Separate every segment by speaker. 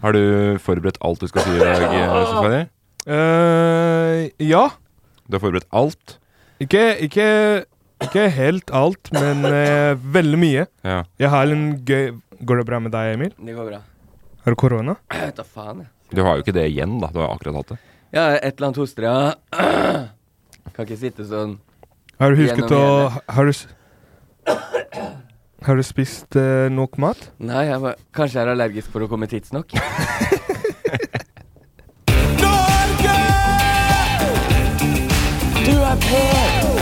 Speaker 1: Har du forberedt alt du skal si i dag, Safari?
Speaker 2: Eh, ja.
Speaker 1: Du har forberedt alt?
Speaker 2: Ikke, ikke, ikke helt alt, men eh, veldig mye.
Speaker 1: Ja.
Speaker 2: Jeg har en gøy Går det bra med deg, Emil?
Speaker 3: Det går bra.
Speaker 2: Har du korona?
Speaker 3: Jeg vet da faen, jeg.
Speaker 1: Du har jo ikke det igjen, da. Du har akkurat hatt det.
Speaker 3: Jeg har et eller annet hoster, ja. Kan ikke sitte sånn.
Speaker 2: Har du husket å
Speaker 3: Gjennom
Speaker 2: Har du s- Har du spist eh, nok mat?
Speaker 3: Nei, jeg bare, kanskje jeg er allergisk for å komme tidsnok.
Speaker 4: Du er pen.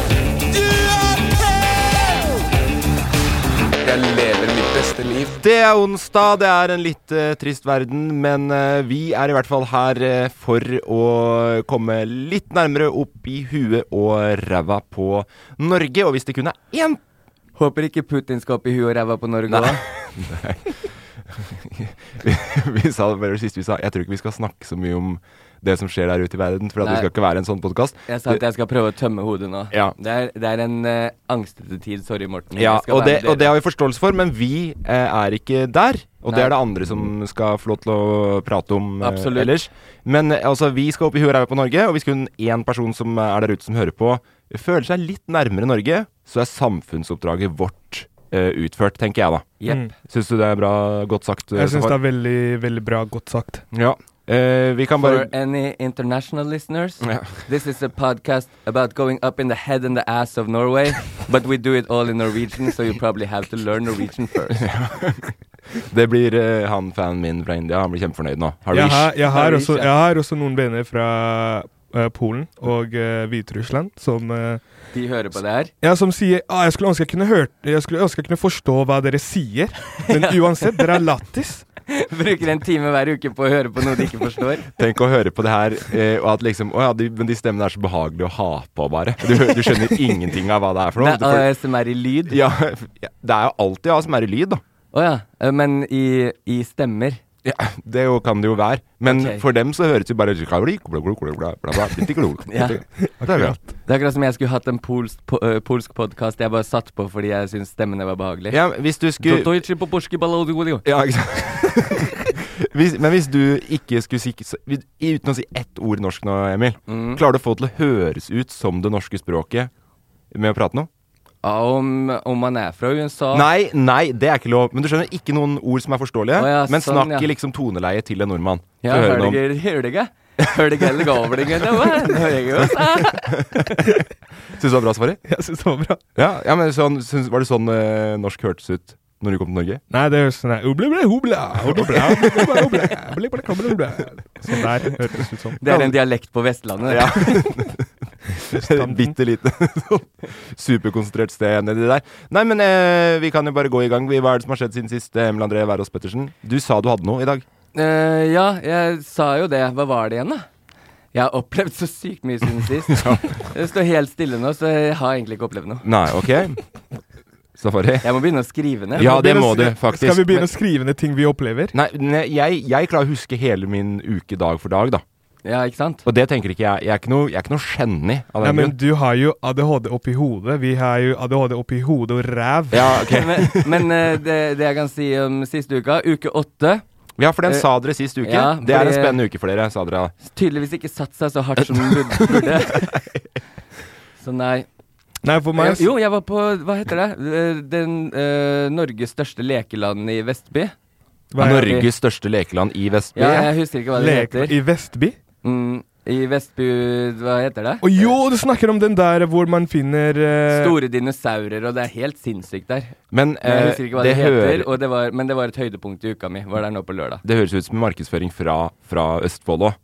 Speaker 3: Jeg lever mitt beste liv.
Speaker 5: Det er onsdag, det er en litt eh, trist verden, men eh, vi er i hvert fall her eh, for å komme litt nærmere opp i huet og ræva på Norge. Og hvis det kun er én
Speaker 3: Håper ikke Putin skal opp i huet og ræva på Norge
Speaker 5: Nei.
Speaker 3: òg.
Speaker 5: vi, vi sa det bare sist vi sa Jeg tror ikke vi skal snakke så mye om det som skjer der ute i verden, for at
Speaker 3: Nei.
Speaker 5: det skal ikke være en sånn podkast.
Speaker 3: Jeg sa at jeg skal prøve å tømme hodet nå.
Speaker 5: Ja.
Speaker 3: Det, er, det er en eh, angstete tid. Sorry, Morten.
Speaker 5: Ja,
Speaker 3: Jeg skal
Speaker 5: og
Speaker 3: være
Speaker 5: det,
Speaker 3: med
Speaker 5: og det
Speaker 3: dere.
Speaker 5: har vi forståelse for, men vi eh, er ikke der. Og det
Speaker 3: Nei. Mm.
Speaker 5: er det andre som skal få lov til å prate om eh,
Speaker 3: Absolutt.
Speaker 5: ellers. Men eh, altså, vi skal opp i huet og ræva på Norge, og hvis kun én person som eh, er der ute som hører på, føler seg litt nærmere Norge, så er samfunnsoppdraget vårt eh, utført, tenker jeg da.
Speaker 3: Jepp.
Speaker 5: Syns du det er bra godt sagt? eh,
Speaker 2: Mm. Jeg syns det
Speaker 5: Safar?
Speaker 2: er veldig, veldig bra godt sagt.
Speaker 5: Ja. Eh, vi kan
Speaker 3: For
Speaker 5: bare
Speaker 3: any international listeners,
Speaker 5: Ja.
Speaker 3: this is a podcast about going up in the head and the ass of Norway, but we do it all in Norwegian, so you probably have to learn Norwegian first.
Speaker 5: Det blir eh, han fanen min fra India, han blir kjempefornøyd nå.
Speaker 2: Jeg har,
Speaker 5: Harish.
Speaker 2: jeg, har
Speaker 3: Harish,
Speaker 2: også,
Speaker 3: ja.
Speaker 2: jeg har også noen venner fra eh, Polen og eh, Hviterussland som eh,
Speaker 3: De hører på det her.
Speaker 2: Ja, som sier ah, jeg skulle ønske jeg kunne hørt Jeg skulle ønske jeg kunne forstå hva dere sier, men uansett, dere er lattis.
Speaker 3: Bruker en time hver uke på å høre på noe de ikke forstår.
Speaker 5: Tenk å høre på det her, eh, og at liksom Å ja, de, men de stemmene er så behagelige å ha på, bare. Du, hø- du skjønner ingenting av hva det er for
Speaker 3: Det
Speaker 5: noe.
Speaker 3: er
Speaker 5: Du får-
Speaker 3: ASMR i lyd. Å
Speaker 5: ja, ja, det er jo alltid ASMR i lyd, da.
Speaker 3: ja. eh, Men i, i stemmer.
Speaker 5: Ja, det jo, kan det jo være. Men
Speaker 3: Ok.
Speaker 5: for dem så høres det jo bare ja.
Speaker 3: Ja. Det er akkurat som jeg skulle hatt en polsk, po eh, polsk podkast jeg bare satt på fordi jeg syntes stemmene var behagelige.
Speaker 5: ja, hvis du skulle
Speaker 3: Dotoichi på porske ballodigodio.
Speaker 5: Ja, ikke sant? hvis, men hvis du ikke skulle si så- hvis- Uten å si ett ord norsk nå, Emil.
Speaker 3: Mm.
Speaker 5: Klarer du å få det til å høres ut som det norske språket med å prate nå?
Speaker 3: Ja, om, om man er fra USA
Speaker 5: Nei, nei, det er ikke lov. Men du skjønner, ikke noen ord som er forståelige.
Speaker 3: Å ja,
Speaker 5: men
Speaker 3: sånn,
Speaker 5: snakk
Speaker 3: ja.
Speaker 5: i liksom toneleie til en nordmann.
Speaker 3: Ja,
Speaker 5: Så
Speaker 3: hører
Speaker 5: hører du om-
Speaker 3: dere hører dere? Hører dere eller gaver dere? Det var- det hører jeg også.
Speaker 5: Syns du det var bra, Safari?
Speaker 2: Jeg synes det var bra.
Speaker 5: Ja, ja men sånn, syns, Var det sånn eh, norsk hørtes ut når du kom til Norge?
Speaker 2: Nei, det høres sånn her ubla, ubla, ubla, ubla, ubla, ubla, ubla, ubla, ubla, ubla. Sånn der høres ut som.
Speaker 3: Det er en dialekt på Vestlandet. det.
Speaker 5: Ja. Bitte lite sånn superkonsentrert sted nedi der. Nei, men eh, vi kan jo bare gå i gang. Vi- Hva er det som har skjedd siden sist, Emil André Wærås Pettersen? Du sa du hadde noe i dag.
Speaker 3: Eh, ja, jeg sa jo det. Hva var det igjen, da? Jeg har opplevd så sykt mye siden sist. Det står helt stille nå, så jeg har egentlig ikke opplevd noe.
Speaker 5: Nei, ok. Safari.
Speaker 3: Jeg må begynne å skrive ned.
Speaker 5: Ja, det må du, faktisk.
Speaker 2: Skal vi begynne å
Speaker 5: Men-
Speaker 2: skrive ned ting vi opplever?
Speaker 5: Nei, ne- jeg, jeg klarer å huske hele min uke dag for dag, da.
Speaker 3: Ja, ikke sant?
Speaker 5: Og det tenker ikke jeg. Jeg er ikke noe, jeg er ikke noe geni av
Speaker 2: Nei,
Speaker 5: den
Speaker 2: men
Speaker 5: grunn.
Speaker 2: du har jo ADHD oppi hodet. Vi har jo ADHD oppi hodet og ræv.
Speaker 5: Ja, ok.
Speaker 3: Men, men eh, det, det jeg kan si om siste uka, uke åtte
Speaker 5: Ja, for den
Speaker 3: Eh,
Speaker 5: sa dere sist uke.
Speaker 3: ja,
Speaker 5: det er en
Speaker 3: fordi-
Speaker 5: spennende uke for dere, sa dere.
Speaker 3: Tydeligvis ikke satt seg så hardt som den burde- burde. Så nei.
Speaker 2: Nei, for meg
Speaker 3: Jeg, jo, jeg var på Hva heter det? Eh, Den eh, Norges største lekeland i Vestby.
Speaker 2: Hva er-
Speaker 3: det?
Speaker 5: Norges største lekeland i Vestby.
Speaker 3: Ja, jeg husker ikke hva det
Speaker 2: Lek
Speaker 3: heter.
Speaker 2: i Vestby?
Speaker 3: Mm, I Vestby Hva heter det?
Speaker 2: Å jo, du snakker om den der hvor man finner eh,
Speaker 3: Store dinosaurer, og det er helt sinnssykt der.
Speaker 5: Men
Speaker 3: Men jeg
Speaker 5: eh,
Speaker 3: husker ikke hva det,
Speaker 5: det,
Speaker 3: heter,
Speaker 5: hører,
Speaker 3: og det var, men det var et høydepunkt i uka mi. Var der nå på lørdag.
Speaker 5: det høres ut som en markedsføring fra, fra Østfold òg.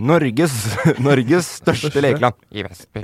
Speaker 5: Norges, Norges største lekeland i Vestby.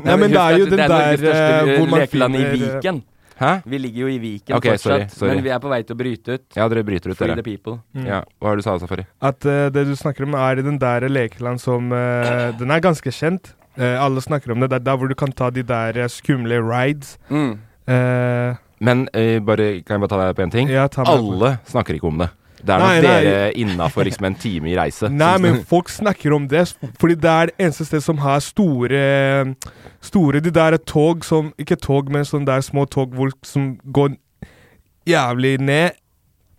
Speaker 2: Nei, men det
Speaker 3: Husk
Speaker 2: er jo
Speaker 3: at
Speaker 2: den
Speaker 3: er Norges
Speaker 2: der eh,
Speaker 3: største, eh,
Speaker 2: hvor man
Speaker 3: lekeland
Speaker 2: finner
Speaker 3: i Viken.
Speaker 5: Hæ?
Speaker 3: Vi ligger jo i Viken
Speaker 5: Ok, sorry,
Speaker 3: fortsatt,
Speaker 5: sorry.
Speaker 3: men vi er på vei til å bryte ut.
Speaker 5: Ja, dere bryter ut,
Speaker 3: Free the
Speaker 5: dere.
Speaker 3: people.
Speaker 5: Ja, hva har du sa, Safari?
Speaker 2: At eh, det du snakker om, er den der lekeland som eh, Den er ganske kjent. Eh, alle snakker om det. Det er der hvor du kan ta de der eh, skumle rides.
Speaker 3: Mm.
Speaker 2: Eh,
Speaker 5: Men eh, bare, kan jeg bare ta deg på en ting?
Speaker 2: Ja, ta meg på-
Speaker 5: Alle snakker ikke om det. Det er
Speaker 2: Nei,
Speaker 5: nok
Speaker 2: nei.
Speaker 5: dere innafor liksom en time i reise.
Speaker 2: nei,
Speaker 3: sånn
Speaker 5: som-
Speaker 2: men folk snakker om det, fordi det er det eneste stedet som har store Store de der tog som Ikke tog, men sånne der små tog hvor, som går jævlig ned.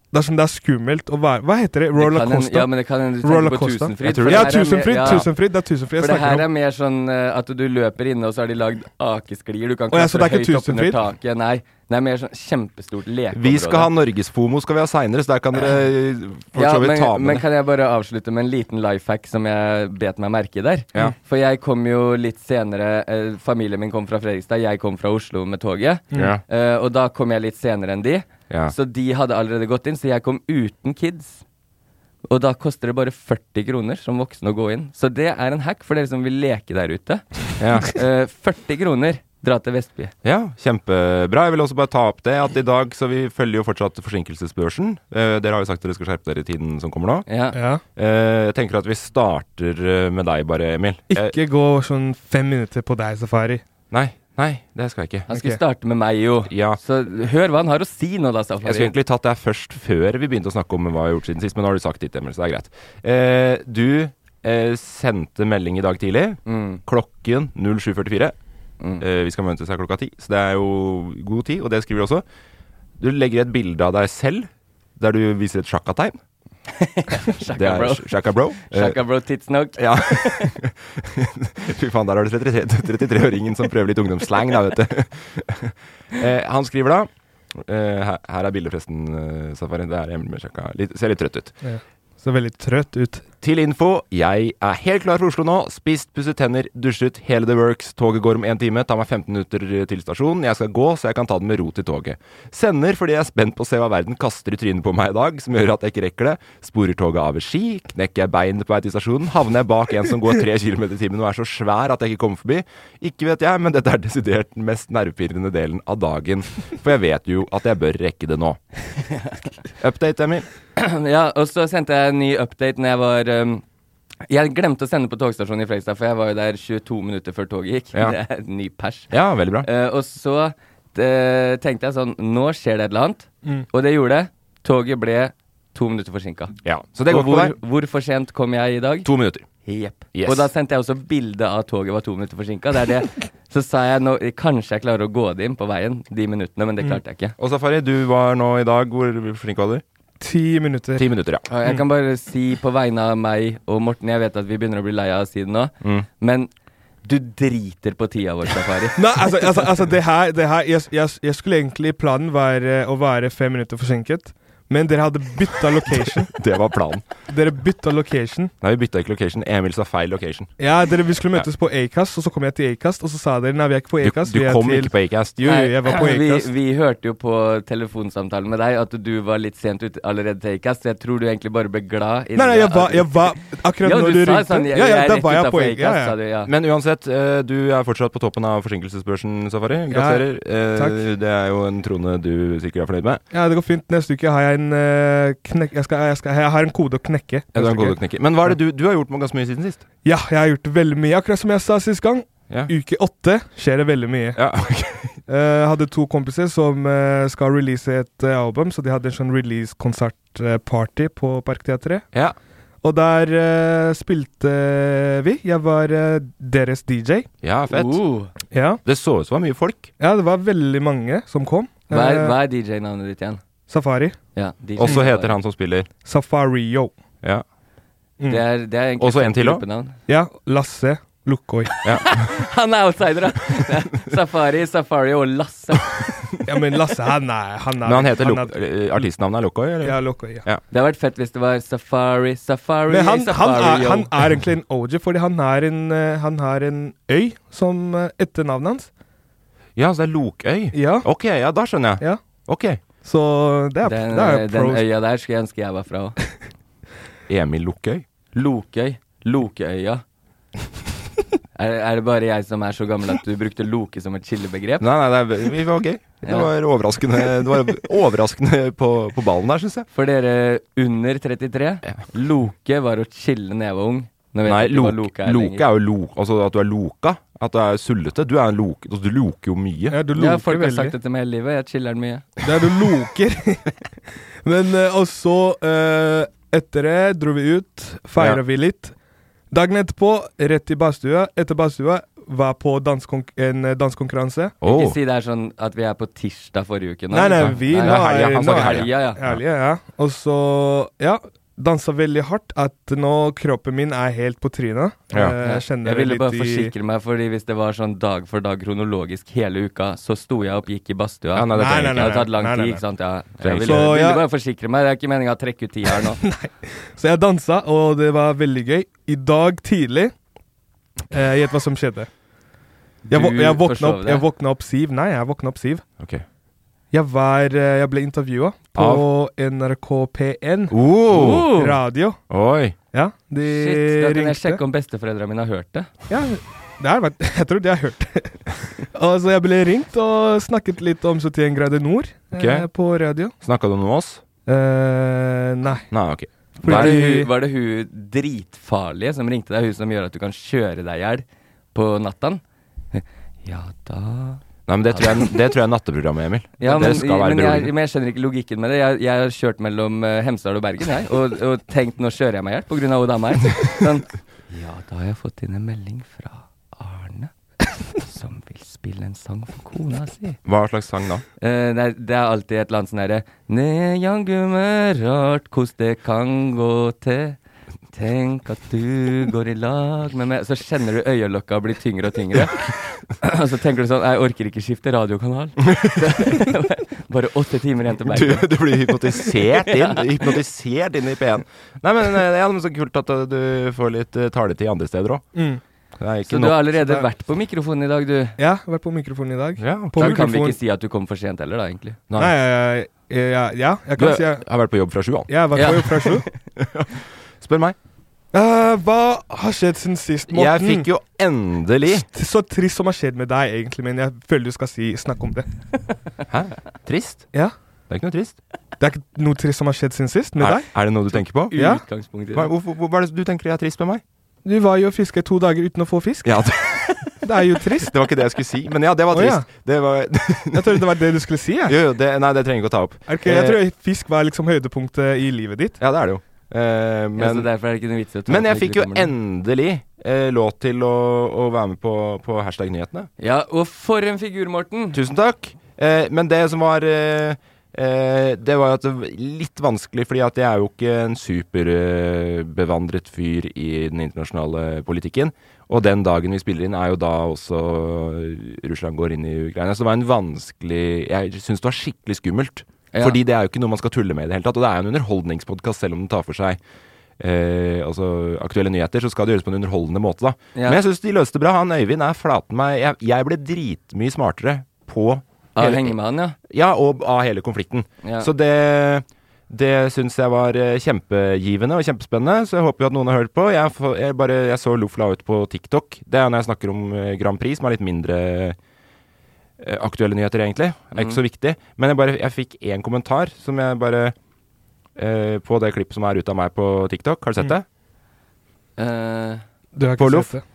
Speaker 2: Det er sånn det er skummelt å være Hva heter det?
Speaker 3: Det
Speaker 2: Roller
Speaker 3: kan hende-
Speaker 2: Costa?
Speaker 3: Ja, men det kan hende du
Speaker 2: Roller
Speaker 3: tenker på
Speaker 2: Costa.
Speaker 3: Tusenfryd.
Speaker 5: Jeg tror
Speaker 3: for
Speaker 5: det.
Speaker 2: Ja,
Speaker 3: her er mer-
Speaker 2: Tusenfryd!
Speaker 3: ja.
Speaker 2: Tusenfryd! Det er Tusenfryd jeg
Speaker 3: For det
Speaker 2: snakker
Speaker 3: her
Speaker 2: om.
Speaker 3: er mer sånn eh, at du løper inne, og så har de lagd akesklier. Du kan
Speaker 2: Å, ja, så
Speaker 3: klatre
Speaker 2: det er ikke
Speaker 3: høyt opp under
Speaker 2: Tusenfryd?
Speaker 3: taket. Nei, det er mer sånn kjempestort lekeområde.
Speaker 5: Vi skal ha Norgesfomo skal vi ha seinere, så der kan dere eh, for
Speaker 3: ja,
Speaker 5: så vidt
Speaker 3: men,
Speaker 5: ta med
Speaker 3: men
Speaker 5: det.
Speaker 3: kan jeg bare avslutte med en liten life hack som jeg bet meg merke i der? For jeg kom jo litt senere eh, Familien min kom fra Fredrikstad, jeg kom fra Oslo med toget.
Speaker 5: Mm. Ja.
Speaker 3: Eh, og da kom jeg litt senere enn de.
Speaker 5: Ja.
Speaker 3: Så de hadde allerede gått inn, så jeg kom uten kids. Og da koster det bare 40 kroner som voksen å gå inn. Så det er en hack for dere som vil leke der ute.
Speaker 5: Ja.
Speaker 3: Eh, 40 kroner, dra til Vestby.
Speaker 5: ja, kjempebra. Jeg vil også bare ta opp det at i dag så vi følger jo fortsatt forsinkelsesbørsen. Eh, dere har jo sagt dere skal skjerpe dere i tiden som kommer nå.
Speaker 3: Ja.
Speaker 2: Ja.
Speaker 5: Eh, jeg tenker at vi starter eh, med deg bare, Emil. Eh,
Speaker 2: Ikke gå sånn fem minutter på deg, Safari.
Speaker 5: nei, nei, det skal jeg ikke.
Speaker 3: Han skulle
Speaker 2: Ok.
Speaker 3: starte med meg, jo.
Speaker 5: Ja.
Speaker 3: Så hør hva han har å si nå, da, Safari.
Speaker 5: Jeg skulle egentlig tatt deg først før vi begynte å snakke om hva vi har gjort siden sist, men nå har du sagt ditt, Emil, så det er greit. Eh, du eh, sendte melding i dag tidlig, klokken 07.44. Eh, vi skal møtes her klokka ti, så det er jo god tid, og det skriver du også. Du legger et bilde av deg selv der du viser et sjakkategn.
Speaker 3: Shaka
Speaker 5: Det er
Speaker 3: bro.
Speaker 5: sjakka bro. Eh,
Speaker 3: Shaka bro tidsnok.
Speaker 5: ja. Eh, Fy faen, der har du 33 33-åringen som prøver litt ungdomsslang, da, vet du. Eh, han skriver da eh, her, her er bildet, forresten, eh, Safari. Det er Emil med sjakka. Litt, ser litt trøtt ut.
Speaker 2: Så veldig trøtt ut.
Speaker 5: Til info, jeg er helt klar for Oslo nå. Spist, pusset tenner, dusjet, hele the works. Toget går om én time. Tar meg 15 minutter til stasjonen. Jeg skal gå, så jeg kan ta det med ro til toget. Sender fordi jeg er spent på å se hva verden kaster i trynet på meg i dag, som gjør at jeg ikke rekker det. Sporer toget av ved ski. Knekker jeg beinet på vei til stasjonen. Havner jeg bak en som går 3 km i timen og er så svær at jeg ikke kommer forbi. Ikke vet jeg, men dette er desidert den mest nervepirrende delen av dagen. For jeg vet jo at jeg bør rekke det nå. Update, Emil. eh,
Speaker 3: Ja, og så sendte jeg en ny update når jeg var um, Jeg glemte å sende på togstasjonen i Fredrikstad, for jeg var jo der 22 minutter før toget gikk.
Speaker 5: Ja.
Speaker 3: Det er en ny pers.
Speaker 5: Ja, veldig bra.
Speaker 3: Eh, og så eh, tenkte jeg sånn Nå skjer det et eller annet.
Speaker 5: Mm.
Speaker 3: Og det gjorde det. Toget ble to minutter forsinka.
Speaker 5: Ja, så det går
Speaker 3: og
Speaker 5: ikke på
Speaker 3: hvor,
Speaker 5: deg.
Speaker 3: hvor for sent kom jeg i dag?
Speaker 5: To minutter.
Speaker 3: Jepp.
Speaker 5: Yes.
Speaker 3: Og da sendte jeg også bilde av at toget var to minutter forsinka. Det er det. Så sa jeg nå Kanskje jeg klarer å gå det inn på veien de minuttene, men det
Speaker 5: Mm.
Speaker 3: klarte jeg ikke.
Speaker 5: Og Safari, du var nå i dag Hvor flink var du?
Speaker 2: Ti minutter.
Speaker 5: Ti minutter, ja.
Speaker 2: Mm.
Speaker 3: Ja, Jeg kan bare si på vegne av meg og Morten, jeg vet at vi begynner å bli lei av siden nå,
Speaker 2: Mm.
Speaker 3: men du driter på tida vår, Safari.
Speaker 2: Nei, altså, altså, altså det her, det her jeg, jeg, jeg skulle egentlig Planen var eh, å være fem minutter forsinket, men dere hadde bytta location.
Speaker 5: Det var planen.
Speaker 2: Dere bytta location.
Speaker 5: Nei, vi bytta ikke location. Emil sa feil location.
Speaker 2: Ja, dere, Vi skulle møtes på Acast, og så kom jeg til Acast, og så sa dere nei, vi er ikke på
Speaker 5: Du,
Speaker 2: Acast.
Speaker 5: du
Speaker 2: vi er
Speaker 5: kom
Speaker 2: til
Speaker 5: ikke på Acast.
Speaker 2: Jo, jo, jeg var på
Speaker 3: vi,
Speaker 2: Acast.
Speaker 3: vi hørte jo på telefonsamtalen med deg at du var litt sent ute allerede til Acast, så jeg tror du egentlig bare ble glad. i
Speaker 2: Nei, nei,
Speaker 3: det
Speaker 2: jeg var,
Speaker 3: at-
Speaker 2: jeg var Akkurat
Speaker 3: ja,
Speaker 2: når
Speaker 3: du,
Speaker 2: du
Speaker 3: sa
Speaker 2: ringte
Speaker 3: sånn, jeg,
Speaker 2: Ja, ja,
Speaker 3: jeg er
Speaker 2: da
Speaker 3: rett
Speaker 2: var jeg på
Speaker 3: utenfor
Speaker 2: Acast. Ja,
Speaker 3: Acast, sa
Speaker 2: ja.
Speaker 3: du, ja.
Speaker 5: Men uansett, eh, du er fortsatt på toppen av forsinkelsesbørsen, Safari. Gratulerer. Eh,
Speaker 2: takk.
Speaker 5: Det er jo en trone du sikkert er fornøyd med.
Speaker 2: ja, det går fint. Neste uke har jeg en eh, knekk... Jeg, skal, jeg, skal, jeg har en kode å knekke.
Speaker 5: Ja, du er en
Speaker 2: neste
Speaker 5: god
Speaker 2: uke.
Speaker 5: tekniker. Men hva er det du, du har gjort med ganske mye siden sist?
Speaker 2: Ja, jeg har gjort veldig mye. Akkurat som jeg sa sist gang.
Speaker 5: Ja.
Speaker 2: Uke åtte skjer det veldig mye.
Speaker 5: Ja, ok.
Speaker 2: Eh, hadde to kompiser som eh, skal release et eh, album, så de hadde en sånn release-konsertparty på Parkteatret.
Speaker 5: Ja.
Speaker 2: Og der eh, spilte vi. Jeg var eh, deres DJ.
Speaker 5: Ja, fett.
Speaker 3: Uh.
Speaker 2: Ja.
Speaker 5: Oh. Det så ut som det var mye folk.
Speaker 2: ja, det var veldig mange som kom.
Speaker 3: Hva er,
Speaker 2: Eh,
Speaker 3: hva er DJ-navnet ditt igjen?
Speaker 2: Safari.
Speaker 3: Ja, DJ
Speaker 5: Og så heter han som spiller
Speaker 2: Safario.
Speaker 5: Ja.
Speaker 2: Mm.
Speaker 3: Det er, det er egentlig
Speaker 5: Og så en til også.
Speaker 3: gruppenavn.
Speaker 2: Ja, Lasse Lukkoi.
Speaker 3: Han er outsider, da! Det er Safari, Safari og Lasse.
Speaker 2: Ja, men Lasse, han er, han er
Speaker 5: Men han heter Lo eh,
Speaker 2: er-
Speaker 5: Artistnavnet er Lokoi, eller?
Speaker 2: Ja, Lukkoi. Ja.
Speaker 3: Det hadde vært fett hvis det var Safari, Safari,
Speaker 2: Men han, han,
Speaker 3: Safari
Speaker 2: er,
Speaker 3: yo.
Speaker 2: han er egentlig en OG, fordi han er en, eh, han har en øy som eh, etter navnet hans.
Speaker 5: Ja, så det er Lokøy?
Speaker 2: Ja.
Speaker 5: Ok, ja, da skjønner jeg.
Speaker 2: ja.
Speaker 5: Ok.
Speaker 2: Så det er,
Speaker 3: den, eh,
Speaker 2: det er
Speaker 3: den
Speaker 2: pros.
Speaker 3: øya der skulle jeg ønske jeg var fra òg.
Speaker 5: Emil Lokøy?
Speaker 3: Lokøy. Lokeøya. Er, er det bare jeg som er så gammel at du brukte loke som et chillebegrep?
Speaker 5: Nei, nei, det er, vi var gøy. Det
Speaker 3: Ja.
Speaker 5: var overraskende, det var overraskende på, på ballen der, syns jeg.
Speaker 3: For dere under 33, loke var å chille når jeg var ung. Nå vet
Speaker 5: Nei,
Speaker 3: jeg ikke hva
Speaker 5: loke,
Speaker 3: loke er
Speaker 5: loke
Speaker 3: lenger.
Speaker 5: er jo lo... Altså at du er loka. At du er sullete. Du er en loke. Altså, du loker jo mye.
Speaker 2: Ja, du
Speaker 3: Ja,
Speaker 2: loker
Speaker 3: folk har
Speaker 2: veldig.
Speaker 3: sagt det til meg hele livet. Jeg chiller'n mye.
Speaker 2: Det er du loker. Men eh, og så eh, Etter det dro vi ut, feira
Speaker 5: Ja.
Speaker 2: vi litt. Dagen etterpå, rett i badstua. Etter badstua var på dansekonk en eh, dansekonkurranse.
Speaker 5: Åh.
Speaker 3: Ikke si det er sånn at vi er på tirsdag forrige uke nå.
Speaker 2: Nei, nei,
Speaker 3: liksom.
Speaker 2: vi
Speaker 3: Nei,
Speaker 2: nå
Speaker 3: ja,
Speaker 2: er
Speaker 5: helga, han
Speaker 2: nå
Speaker 5: snakker
Speaker 2: er-
Speaker 5: helga.
Speaker 3: Ja, ja.
Speaker 2: Herlig, ja. Og så, ja, dansa veldig hardt at nå kroppen min er helt på trynet.
Speaker 5: Ja.
Speaker 2: Eh, Jeg kjenner
Speaker 3: Jeg ville
Speaker 2: det
Speaker 3: bare
Speaker 2: litt i
Speaker 3: forsikre meg, fordi hvis det var sånn dag for dag kronologisk hele uka, så sto jeg opp, gikk i badstua.
Speaker 5: Ja, nei, det Nei, trenger nei, ikke.
Speaker 3: Det hadde
Speaker 2: nei,
Speaker 3: tatt lang
Speaker 2: nei, nei,
Speaker 3: tid,
Speaker 2: nei.
Speaker 3: ikke sant? Ja.
Speaker 5: Trenger
Speaker 3: Jeg
Speaker 5: ikke.
Speaker 3: ville,
Speaker 2: Så,
Speaker 3: ville
Speaker 2: ja.
Speaker 3: bare forsikre meg. Det er ikke meninga å trekke ut tida her nå.
Speaker 2: Så jeg dansa, og det var veldig gøy. I dag tidlig eh, Gjett hva som skjedde. Jeg, vå-
Speaker 3: Du
Speaker 2: jeg, våkna
Speaker 3: forsov
Speaker 2: opp,
Speaker 3: deg.
Speaker 2: jeg våkna opp siv. Nei, jeg våkna opp siv.
Speaker 5: Ok.
Speaker 2: Jeg, var, eh, jeg ble intervjua på NRK P1
Speaker 5: Oh.
Speaker 3: Oh.
Speaker 2: radio.
Speaker 5: Oi.
Speaker 2: Ja, de
Speaker 3: Shit, da kan jeg
Speaker 2: ringte.
Speaker 3: sjekke om besteforeldrene mine har hørt det.
Speaker 2: Ja, det her vet jeg tror de har hørt det. og så jeg ble ringt og snakket litt om 71 grader nord
Speaker 5: Ok.
Speaker 2: eh, på radio.
Speaker 5: Snakka du med oss?
Speaker 2: Eh, nei.
Speaker 5: Nei, ok.
Speaker 3: Var det,
Speaker 2: Fordi-
Speaker 3: hun, var det hun dritfarlige som ringte deg, hun som gjør at du kan kjøre deg i hjel på natten? Ja da
Speaker 5: Nei, men det tror jeg, det tror jeg er natteprogrammet, Emil.
Speaker 3: ja,
Speaker 5: det
Speaker 3: men,
Speaker 5: skal være
Speaker 3: men, jeg,
Speaker 5: broren.
Speaker 3: men jeg skjønner ikke logikken med det. Jeg, jeg har kjørt mellom eh, Hemsedal og Bergen jeg, og, og tenkt nå kjører jeg meg i hjel pga. hun dama her. Sånn, ja, da har jeg fått inn en melding fra Arne som vil spille en sang for kona si.
Speaker 5: Hva slags sang da?
Speaker 3: Eh, nei, det er alltid et eller annet sånn derre Ne jangu meg rart kos det kan gå til. Tenk at du går i lag med meg Så kjenner du øyelokka blir tyngre og tyngre. Og så tenker du sånn Jeg orker ikke skifte radiokanal. Så, bare åtte timer igjen til
Speaker 5: Du,
Speaker 3: Bergen.
Speaker 5: du blir hypnotisert inn Hypnotisert inn i P1. Nei, men eh, det er så kult at eh, du får litt eh, taletid andre steder òg.
Speaker 2: Mm.
Speaker 5: Det er ikke
Speaker 3: Så du
Speaker 5: nok.
Speaker 3: har allerede vært på mikrofonen i dag, du.
Speaker 2: Ja, jeg har vært på mikrofonen i dag.
Speaker 5: Ja,
Speaker 2: På
Speaker 3: Da kan vi
Speaker 2: mikrofonen.
Speaker 3: ikke si at du kom for sent heller, da, egentlig.
Speaker 5: Nei.
Speaker 2: Nei, jeg- jeg- jeg- ja, jeg
Speaker 5: Du
Speaker 2: kan si jeg,
Speaker 5: har vært på jobb fra sju, han.
Speaker 2: jeg har vært på
Speaker 3: Ja.
Speaker 2: jobb fra sju.
Speaker 5: Spør meg.
Speaker 2: Eh, hva har skjedd siden sist, Morten?
Speaker 5: Jeg fikk jo endelig
Speaker 2: Så trist som har skjedd med deg, egentlig, men jeg føler du skal si, snakke om det.
Speaker 5: Hæ? Trist?
Speaker 2: Ja.
Speaker 5: Det er ikke noe trist.
Speaker 2: Det er ikke noe trist som har skjedd siden sist med
Speaker 5: Er,
Speaker 2: deg.
Speaker 5: er det noe du tenker på?
Speaker 2: Ja.
Speaker 3: Utgangspunktet.
Speaker 5: Hva, hvorfor- hvor- hva er det du tenker er trist med meg?
Speaker 2: Du var jo og fisket to dager uten å få fisk.
Speaker 5: Ja, det,
Speaker 2: Det er jo trist.
Speaker 5: det var ikke det jeg skulle si, men ja, det var
Speaker 2: Å, ja.
Speaker 5: trist. Det var
Speaker 2: Jeg trodde det var det du skulle si. Jeg,
Speaker 5: Jo, jo, det, nei, det trenger jeg ikke å ta opp. Eh,
Speaker 2: Er ikke- jeg tror fisk var liksom høydepunktet i livet ditt.
Speaker 5: Ja, det er det jo. Eh,
Speaker 3: Men, ja, så
Speaker 5: men,
Speaker 3: derfor er det ikke noe vits i å ta
Speaker 5: men jeg
Speaker 3: opp når
Speaker 5: fikk
Speaker 3: du
Speaker 5: jo
Speaker 3: kommer nå.
Speaker 5: endelig eh, lov til å, å være med på, på hashtag-nyhetene.
Speaker 3: Ja, og for en figur, Morten!
Speaker 5: Tusen takk. Eh, men det som var eh, eh, Det var jo at det var litt vanskelig, fordi at jeg er jo ikke en superbevandret fyr i den internasjonale politikken. Og den dagen vi spiller inn, er jo da også Russland går inn i Ukraina. Så det var en vanskelig Jeg syns det var skikkelig skummelt.
Speaker 3: Ja.
Speaker 5: Fordi det er jo ikke noe man skal tulle med i det hele tatt. Og det er jo en underholdningspodkast, selv om den tar for seg eh, altså aktuelle nyheter, så skal det gjøres på en underholdende måte, da.
Speaker 3: Ja.
Speaker 5: Men jeg syns de løste det bra. Han Øyvind er flaten meg Jeg, jeg ble dritmye smartere på
Speaker 3: Ah, henger med han, ja.
Speaker 5: ja, og av hele konflikten.
Speaker 3: Ja.
Speaker 5: Så det det syns jeg var eh, kjempegivende og kjempespennende, så jeg håper jo at noen har hørt på. Jeg, får- jeg, bare, jeg så Loff la ut på TikTok. Det er når jeg snakker om eh, Grand Prix, som er litt mindre eh, aktuelle nyheter, egentlig. Det er ikke så viktig. Men jeg, bare, jeg fikk én kommentar som jeg bare eh, På det klippet som er ute av meg på TikTok. Har du sett det?
Speaker 3: Eh,
Speaker 2: Du har
Speaker 5: På
Speaker 2: ikke
Speaker 5: loff?
Speaker 2: sett det.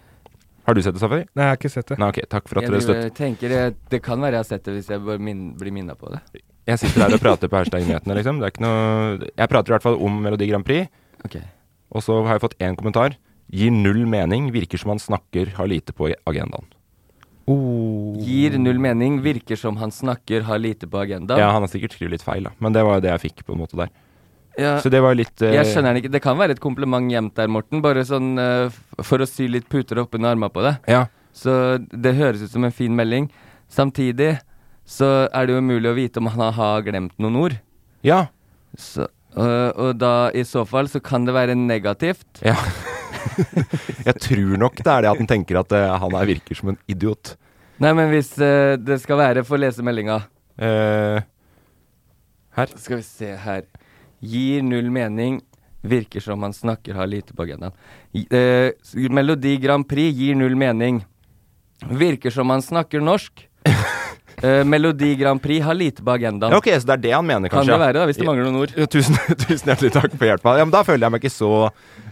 Speaker 5: Har du sett det, Safari?
Speaker 2: Nei, jeg har ikke sett det.
Speaker 5: Nei, ok, Takk for at
Speaker 3: Jeg
Speaker 5: dere
Speaker 3: driver-
Speaker 5: støtter.
Speaker 3: eh, tenker jeg, Det kan være jeg har sett det hvis jeg bare min, blir minna på det.
Speaker 5: Jeg sitter her og prater på hashtag-nyhetene, liksom. Det er ikke noe Jeg prater i hvert fall om Melodi Grand Prix,
Speaker 3: Ok.
Speaker 5: og så har jeg fått én kommentar. Gir null mening, virker som han snakker, har lite på agendaen.
Speaker 2: Oh.
Speaker 3: Gir null mening, virker som han snakker, har lite på agendaen.
Speaker 5: Ja, han har sikkert skrevet litt feil, da. Men det var jo det jeg fikk, på en måte, der.
Speaker 3: Ja,
Speaker 5: Så det var jo litt eh,
Speaker 3: jeg skjønner den ikke. Det kan være et kompliment gjemt der, Morten. Bare sånn eh, f- for å sy litt puter oppunder armene på deg.
Speaker 5: Ja.
Speaker 3: Så det høres ut som en fin melding. Samtidig så er det jo umulig å vite om han har glemt noen ord.
Speaker 5: Ja.
Speaker 3: Så, øh, og da i så fall så kan det være negativt.
Speaker 5: ja. jeg tror nok det er det at han tenker at eh, han er, virker som en idiot.
Speaker 3: Nei, men hvis øh, det skal være Få lese meldinga.
Speaker 5: Eh,
Speaker 3: Skal vi se her. Gir null mening. Virker som han snakker, har lite på agendaen. Gi- øh, s- Melodi Grand Prix gir null mening. Virker som han snakker norsk. Eh, Melodi Grand Prix har lite på agendaen.
Speaker 5: ja, ok, så det er det han mener,
Speaker 3: Kan
Speaker 5: kanskje?
Speaker 3: det
Speaker 5: ja.
Speaker 3: være, da, hvis det mangler noen ord.
Speaker 5: Ja, tusen, tusen hjertelig takk for hjelpa. Ja, men da føler jeg meg ikke så,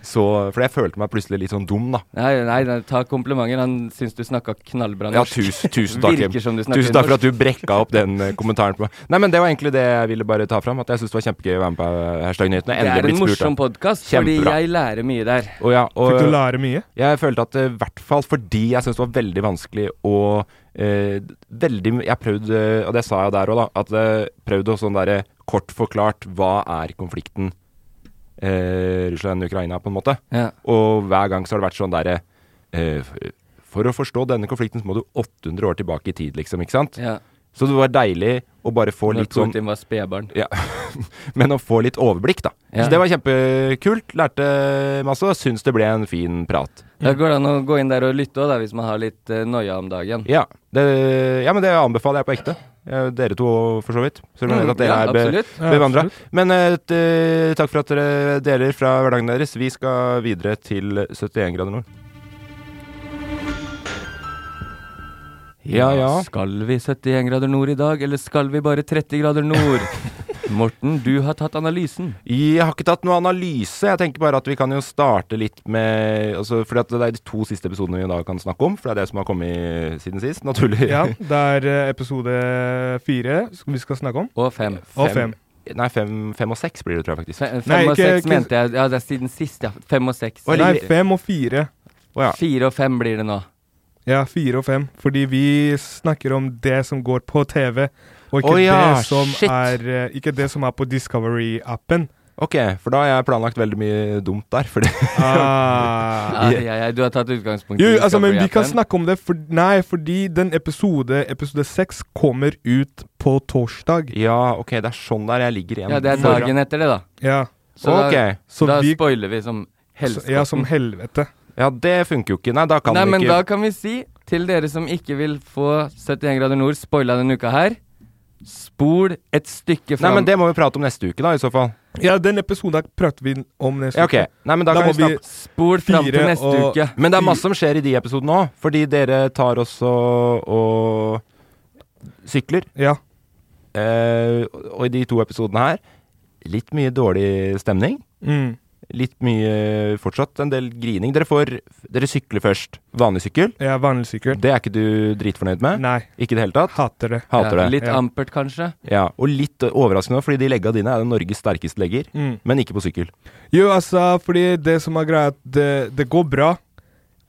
Speaker 5: så For jeg følte meg plutselig litt sånn dum, da.
Speaker 3: Nei, nei, nei ta komplimenter. Han syns du snakka knallbra
Speaker 5: Ja,
Speaker 3: norsk.
Speaker 5: tusen, tusen takk. Kim.
Speaker 3: Virker som du snakker
Speaker 5: Tusen takk for at du brekka opp den eh, kommentaren. På. meg. Nei, men Det var egentlig det jeg ville bare ta fram. At jeg syntes det var kjempegøy å være med på eh, Hashtag Nyhetene.
Speaker 3: Det er
Speaker 5: Endelig
Speaker 3: en
Speaker 5: blitt spurt.
Speaker 3: morsom
Speaker 5: da.
Speaker 3: podkast, fordi
Speaker 5: Kjempebra.
Speaker 3: jeg lærer mye der.
Speaker 5: Og ja, og,
Speaker 2: Fikk du lære mye?
Speaker 5: Jeg følte at eh, i hvert fall fordi jeg syntes det var veldig vanskelig å eh, Veldig Jeg prøvde, og det sa jeg der òg, da, at jeg prøvde å sånn derre kort forklart Hva er konflikten eh, Russland-Ukraina, på en måte?
Speaker 3: Ja.
Speaker 5: Og hver gang så har det vært sånn derre eh, For å forstå denne konflikten, så må du 800 år tilbake i tid, liksom. Ikke sant?
Speaker 3: Ja.
Speaker 5: Så det var deilig å bare få
Speaker 3: Når
Speaker 5: litt sånn
Speaker 3: Putin var spedbarn.
Speaker 5: ja. Men å få litt overblikk, da.
Speaker 3: Ja.
Speaker 5: Så det var kjempekult. Lærte masse og syns det ble en fin prat.
Speaker 3: Da går det an å gå inn der og lytte òg, hvis man har litt eh, noia om dagen.
Speaker 5: Ja, det, ja, men det anbefaler jeg på ekte. Eh, Dere to òg, for så vidt. Selv om jeg vet at dere
Speaker 3: ja,
Speaker 5: er be,
Speaker 3: absolutt.
Speaker 2: Ja,
Speaker 5: bevandra.
Speaker 2: absolutt.
Speaker 5: Men eh, t, takk for at dere deler fra hverdagen deres. Vi skal videre til 71 grader nord. Ja, ja.
Speaker 3: Skal vi 71 grader nord i dag, eller skal vi bare 30 grader nord? Morten, du har tatt analysen.
Speaker 5: Jeg har ikke tatt noe analyse. Jeg tenker bare at vi kan jo starte litt med altså, fordi at det er de to siste episodene vi i dag kan snakke om. For det er det som har kommet siden sist, naturlig.
Speaker 2: Ja, det er eh, episode fire sk- vi skal snakke om.
Speaker 3: Og fem.
Speaker 2: Og fem.
Speaker 5: Nei, fem, fem og seks blir det, tror jeg faktisk.
Speaker 3: Fe, fem
Speaker 2: Nei,
Speaker 3: og
Speaker 2: ikke-
Speaker 3: seks
Speaker 2: ikke-
Speaker 3: mente jeg. Ja, det er siden sist, ja. Fem og seks.
Speaker 5: Oi,
Speaker 2: Nei,
Speaker 5: ligger-
Speaker 2: fem og fire.
Speaker 5: Å ja.
Speaker 3: Fire og fem blir det nå.
Speaker 2: Ja, fire og fem. Fordi vi snakker om det som går på TV, og ikke,
Speaker 5: Å ja,
Speaker 2: det, som
Speaker 5: shit.
Speaker 2: er, eh, ikke det som er på Discovery-appen.
Speaker 5: Ok, for da har jeg planlagt veldig mye dumt der. Fordi
Speaker 2: Ah.
Speaker 3: Ja, ja, ja, du har tatt utgangspunkt
Speaker 2: Jo, altså, men vi kan
Speaker 3: Discovery-appen.
Speaker 2: snakke om det for, Nei, fordi den episode, episode 6 kommer ut på torsdag.
Speaker 5: Ja, ok, det er sånn der jeg ligger igjen.
Speaker 3: Ja, det er dagen etter det, da.
Speaker 2: Ja,
Speaker 3: Så
Speaker 5: Ok.
Speaker 2: så
Speaker 3: da, da
Speaker 2: vi
Speaker 3: spoiler vi som helst.
Speaker 2: Ja, som helvete.
Speaker 5: Ja, det funker jo ikke. Nei, da kan
Speaker 3: Nei,
Speaker 5: vi
Speaker 3: men
Speaker 5: ikke
Speaker 3: da kan vi si til dere som ikke vil få 71 grader nord spoila denne uka her, spol et stykke
Speaker 5: Nei,
Speaker 3: fram.
Speaker 5: men det må vi prate om neste uke, da, i så fall.
Speaker 2: Ja, den episoden prater vi om neste
Speaker 5: Ja, ok. Nei, men da,
Speaker 2: Da
Speaker 5: kan
Speaker 2: må
Speaker 5: vi snakke
Speaker 2: vi-
Speaker 3: Spol fram til
Speaker 2: Fire
Speaker 3: neste
Speaker 2: og-
Speaker 3: uke.
Speaker 5: Men det er masse som skjer i de episodene òg, fordi dere tar også og sykler.
Speaker 2: uke. Ja.
Speaker 5: Eh, og i de to episodene her litt mye dårlig stemning.
Speaker 2: Mm.
Speaker 5: Litt mye eh, fortsatt en del grining. Dere får Dere sykler først. Vanlig sykkel.
Speaker 2: Jeg er vanlig sykkel.
Speaker 5: Det er ikke du dritfornøyd med?
Speaker 2: Nei,
Speaker 5: Ikke i det hele tatt?
Speaker 2: hater det.
Speaker 5: Hater
Speaker 3: Ja,
Speaker 5: det.
Speaker 3: Litt
Speaker 2: Ja.
Speaker 3: ampert, kanskje.
Speaker 5: Ja, og litt eh, overraskende, også, fordi de legga dine er Norges sterkeste legger,
Speaker 2: Mm.
Speaker 5: men ikke på sykkel.
Speaker 2: Jo, altså, fordi det som er greia, er at det, det går bra,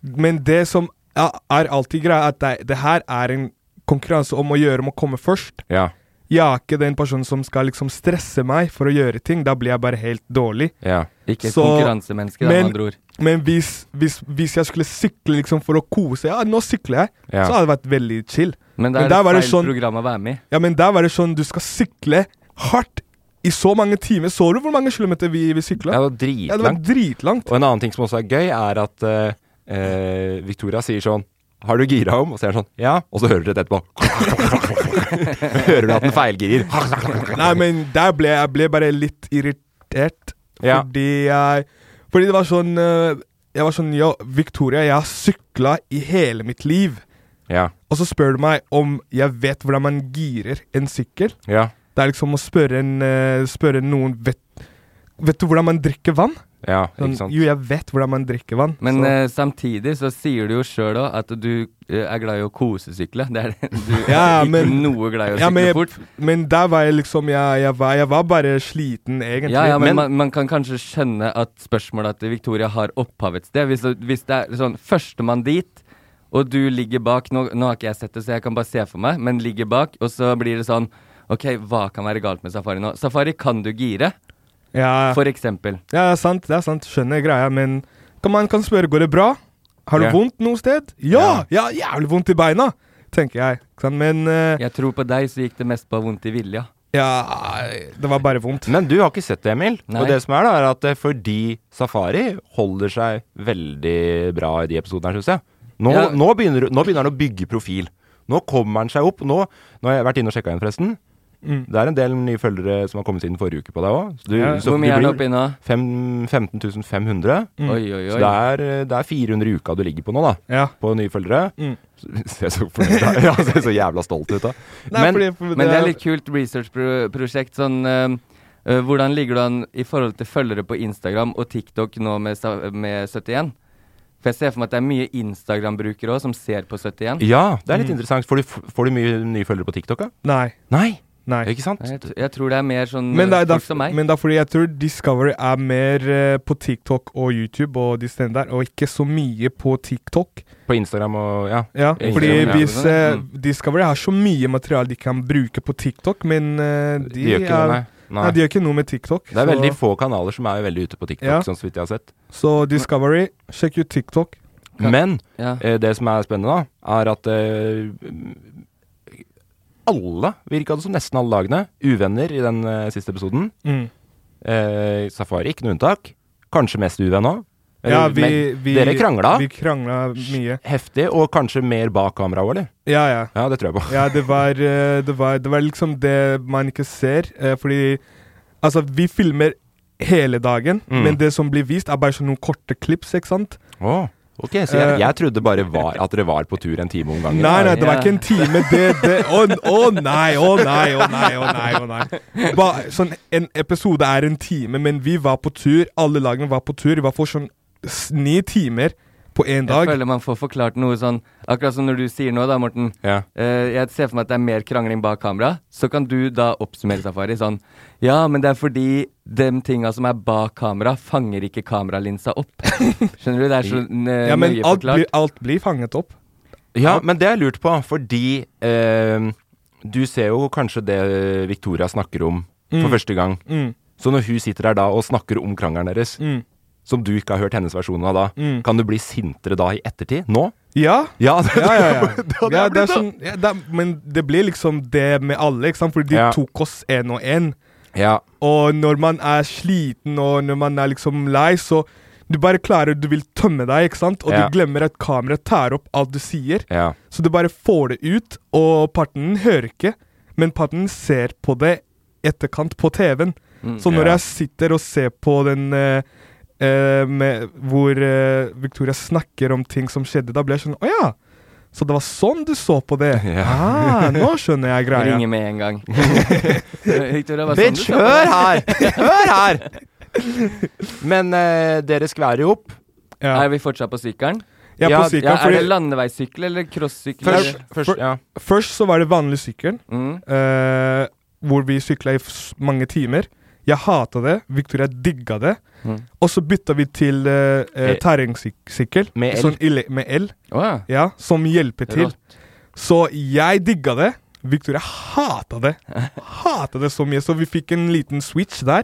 Speaker 2: men det som er, er alltid greia, er at det, det her er en konkurranse om å gjøre om å komme først.
Speaker 5: Ja.
Speaker 2: Jeg er ikke den personen som skal liksom stresse meg for å gjøre ting. Da blir jeg bare helt dårlig.
Speaker 5: ja.
Speaker 3: Ikke et
Speaker 2: Så-
Speaker 3: konkurransemenneske, da, med
Speaker 2: men-
Speaker 3: andre ord.
Speaker 2: Men hvis, hvis, hvis jeg skulle sykle liksom for å kose Ja, nå sykler jeg.
Speaker 5: Ja.
Speaker 2: Så hadde det vært veldig chill.
Speaker 3: Men det
Speaker 2: Men
Speaker 3: er
Speaker 2: der
Speaker 3: et
Speaker 2: var
Speaker 3: feil
Speaker 2: det sånn-
Speaker 3: program å være med i.
Speaker 2: Ja, men der var det sånn du skal sykle hardt i så mange timer. Så du hvor mange kilometer vi, vi
Speaker 5: Ja,
Speaker 2: sykla?
Speaker 5: det var dritlangt.
Speaker 2: Ja, det var dritlangt.
Speaker 5: Og en annen ting som også er gøy, er at eh, eh, Victoria sier sånn Har du gira om? Og så er han sånn Ja. Og så hører du det etterpå. hører du at den feilgirer.
Speaker 2: Nei, men der ble jeg ble bare litt irritert.
Speaker 5: Ja.
Speaker 2: Fordi jeg Fordi det var sånn øh, Jeg var sånn Ja, Victoria, jeg har sykla i hele mitt liv.
Speaker 5: Ja.
Speaker 2: Og så spør du meg om jeg vet hvordan man girer en sykkel.
Speaker 5: Ja.
Speaker 2: Det er liksom å spørre, en, eh, spørre noen vet, vet du hvordan man drikker vann?
Speaker 5: Ja,
Speaker 2: Sånn, jo, jeg vet hvordan man drikker vann.
Speaker 3: Men
Speaker 2: så-
Speaker 3: eh, samtidig så sier du jo sjøl òg at du eh, er glad i å kosesykle. Det er det. Du er
Speaker 2: Ja,
Speaker 3: ikke
Speaker 2: men-
Speaker 3: noe glad i å
Speaker 2: ja,
Speaker 3: sykle
Speaker 2: men,
Speaker 3: fort.
Speaker 2: jeg, men der var jeg liksom Jeg, jeg, var, jeg var bare sliten, egentlig.
Speaker 3: Ja, ja, men, man, man kan kanskje skjønne at spørsmålet til Victoria har opphav et sted. Hvis, hvis det er sånn førstemann dit, og du ligger bak nå, nå har ikke jeg sett det, så jeg kan bare se for meg, men ligger bak, og så blir det sånn OK, hva kan være galt med safari nå? Safari kan du gire,
Speaker 2: Ja.
Speaker 3: for eksempel.
Speaker 2: Ja, det er sant, det er sant. Skjønner greia, men kan man kan spørre går det bra. Har du
Speaker 3: Ja.
Speaker 2: vondt noe sted? Ja! Jeg har jævlig vondt i beina, tenker jeg. Ikke sant? Men eh,
Speaker 3: Jeg tror på deg, så gikk det mest på vondt i vilja.
Speaker 2: ja, det var bare vondt.
Speaker 5: Men du har ikke sett det, Emil.
Speaker 3: Nei.
Speaker 5: Og det som er, da, er at eh, fordi Safari holder seg veldig bra i de episodene her, syns jeg. Nå,
Speaker 3: Ja.
Speaker 5: nå, begynner, nå begynner han å bygge profil. Nå kommer han seg opp. Nå, nå har jeg vært inne og sjekka igjen, forresten.
Speaker 2: Mm.
Speaker 5: Det er en del nye følgere som har kommet inn forrige uke på deg òg.
Speaker 2: Ja.
Speaker 3: Hvor mye er det oppi nå?
Speaker 5: Fem, 15 500.
Speaker 2: Mm.
Speaker 3: Oi, oi,
Speaker 5: Så
Speaker 3: oi.
Speaker 5: det er, eh, det er 400 i uka du ligger på nå, da.
Speaker 2: Ja.
Speaker 5: På nye følgere.
Speaker 2: Mm.
Speaker 5: Ser så fornøyd ut. Ja, ser så jævla stolt ut, da.
Speaker 2: Nei,
Speaker 5: Men-
Speaker 2: fordi- fordi
Speaker 3: Men det er litt kult researchprosjekt. Sånn, øhm, øh, hvordan ligger du an i forhold til følgere på Instagram og TikTok nå med, sa- med 71? For jeg ser for meg at det er mye Instagram-brukere òg som ser på 71.
Speaker 5: Ja, det er litt
Speaker 2: Mm.
Speaker 5: interessant. Får du, får du mye nye følgere på TikTok, da?
Speaker 2: Nei.
Speaker 5: Nei,
Speaker 2: Nei.
Speaker 5: ikke sant?
Speaker 3: Jeg, t- jeg tror det er mer sånn
Speaker 5: Mm.
Speaker 2: Men det, er,
Speaker 3: øh, folk
Speaker 2: derfor,
Speaker 3: som meg.
Speaker 2: men det er fordi jeg tror Discovery er mer eh, på TikTok og YouTube og de stedene der, og ikke så mye på TikTok.
Speaker 5: På Instagram og ja.
Speaker 2: Ja,
Speaker 3: Instagram,
Speaker 2: fordi
Speaker 3: ja.
Speaker 2: hvis eh,
Speaker 3: Mm.
Speaker 2: Discovery har så mye materiale de kan bruke på TikTok, men eh, de,
Speaker 5: De gjør ikke
Speaker 2: er,
Speaker 5: det, nei.
Speaker 2: Nei,
Speaker 5: nei.
Speaker 2: de gjør ikke noe med TikTok.
Speaker 5: Det er
Speaker 2: så,
Speaker 5: veldig få kanaler som er veldig ute på TikTok,
Speaker 2: Ja.
Speaker 5: sånn så vidt jeg har sett.
Speaker 2: så Discovery, sjekk ut TikTok.
Speaker 3: Ja.
Speaker 5: Men
Speaker 3: Ja.
Speaker 5: eh, det som er spennende, da, er at eh, alle, virka det som nesten alle lagene, uvenner i den eh, siste episoden.
Speaker 2: Mm.
Speaker 5: Eh, Safari, ikke noe unntak. Kanskje mest uvenn òg.
Speaker 2: Ja, vi, vi,
Speaker 5: dere krangla
Speaker 2: Vi krangla mye.
Speaker 5: heftig, og kanskje mer bak kamera òg, eller?
Speaker 2: Ja, ja.
Speaker 5: Ja, det tror jeg på.
Speaker 2: Ja, det var, eh, det var, det var liksom det man ikke ser. eh, Fordi Altså, vi filmer hele dagen,
Speaker 5: Mm.
Speaker 2: men det som blir vist, er bare sånne korte klips, ikke sant?
Speaker 5: Åh, ok, så jeg,
Speaker 2: Eh.
Speaker 5: jeg trodde bare var at dere var på tur en time om gangen.
Speaker 2: Nei, nei,
Speaker 3: ja.
Speaker 2: det var ikke en time. Det det- Å å nei, å nei, å nei. å nei, å nei. Ba, sånn, En episode er en time, men vi var på tur. Alle lagene var på tur. Vi var for sånn s- ni timer på én
Speaker 3: Jeg
Speaker 2: dag.
Speaker 3: føler man får forklart noe sånn Akkurat som når du sier nå, da, Morten.
Speaker 5: Ja.
Speaker 3: Eh, jeg ser for meg at det er mer krangling bak kamera. Så kan du da oppsummere Safari sånn Ja, men det er fordi de tinga som er bak kamera, fanger ikke kameralinsa opp. Skjønner du? Det er så eh,
Speaker 2: Ja, men
Speaker 3: nøye
Speaker 2: alt blir,
Speaker 3: forklart.
Speaker 2: alt blir fanget opp.
Speaker 5: Ja, men det har jeg lurt på, fordi eh, du ser jo kanskje det Victoria snakker om
Speaker 2: Mm.
Speaker 5: for første gang.
Speaker 2: Mm,
Speaker 5: Så når hun sitter her da og snakker om krangelen deres,
Speaker 2: mm,
Speaker 5: som du ikke har hørt hennes versjon av da,
Speaker 2: mm.
Speaker 5: kan du bli sintere da i ettertid? Nå?
Speaker 2: Ja.
Speaker 5: Ja, det,
Speaker 2: Ja, ja, ja.
Speaker 5: det hadde
Speaker 2: ja,
Speaker 5: jeg
Speaker 2: det er
Speaker 5: blitt da.
Speaker 2: sånn, ja, det er, men det blir liksom det med alle, ikke sant? Fordi de
Speaker 5: Ja.
Speaker 2: tok oss én og én.
Speaker 5: Ja,
Speaker 2: Og når man er sliten og når man er liksom lei, så du bare klarer, du vil tømme deg, ikke sant? Og
Speaker 5: Ja.
Speaker 2: du glemmer at kameraet tar opp alt du sier.
Speaker 5: ja.
Speaker 2: Så du bare får det ut, og parten hører ikke. Men parten ser på det etterkant på TV-en.
Speaker 3: Mm.
Speaker 2: Så når
Speaker 5: Ja.
Speaker 2: jeg sitter og ser på den eh, eh, med, hvor eh, Victoria snakker om ting som skjedde, da blir jeg sånn Å ja! Så det var sånn du så på det?
Speaker 5: Ja.
Speaker 2: Ah, nå skjønner jeg greia.
Speaker 3: Ringe med en gang. Eh, Victoria, hva sa
Speaker 5: Bitch,
Speaker 3: sånn du?
Speaker 5: hør her! Hør her! Men eh, dere skværer jo opp.
Speaker 2: Ja.
Speaker 3: Er vi fortsatt på sykkelen?
Speaker 2: Jeg er
Speaker 5: Ja,
Speaker 2: på sykkel,
Speaker 3: Ja, er det
Speaker 2: fordi
Speaker 3: landeveissykkel eller crossykkel?
Speaker 5: Først,
Speaker 3: Eller-
Speaker 5: først ja.
Speaker 2: Først så var det vanlig sykkel,
Speaker 3: Mm.
Speaker 2: eh, hvor vi sykla i s- mange timer. Jeg hata det. Victoria digga det.
Speaker 3: Mm.
Speaker 2: Og så bytta vi til eh, eh,
Speaker 5: Eh,
Speaker 2: terrengsykkel
Speaker 5: med el.
Speaker 2: sånn ele- med el,
Speaker 3: Å ja.
Speaker 2: ja, som hjelper til.
Speaker 3: Rått.
Speaker 2: Så jeg digga det. Victoria hata det. Hata det så mye, så vi fikk en liten switch der.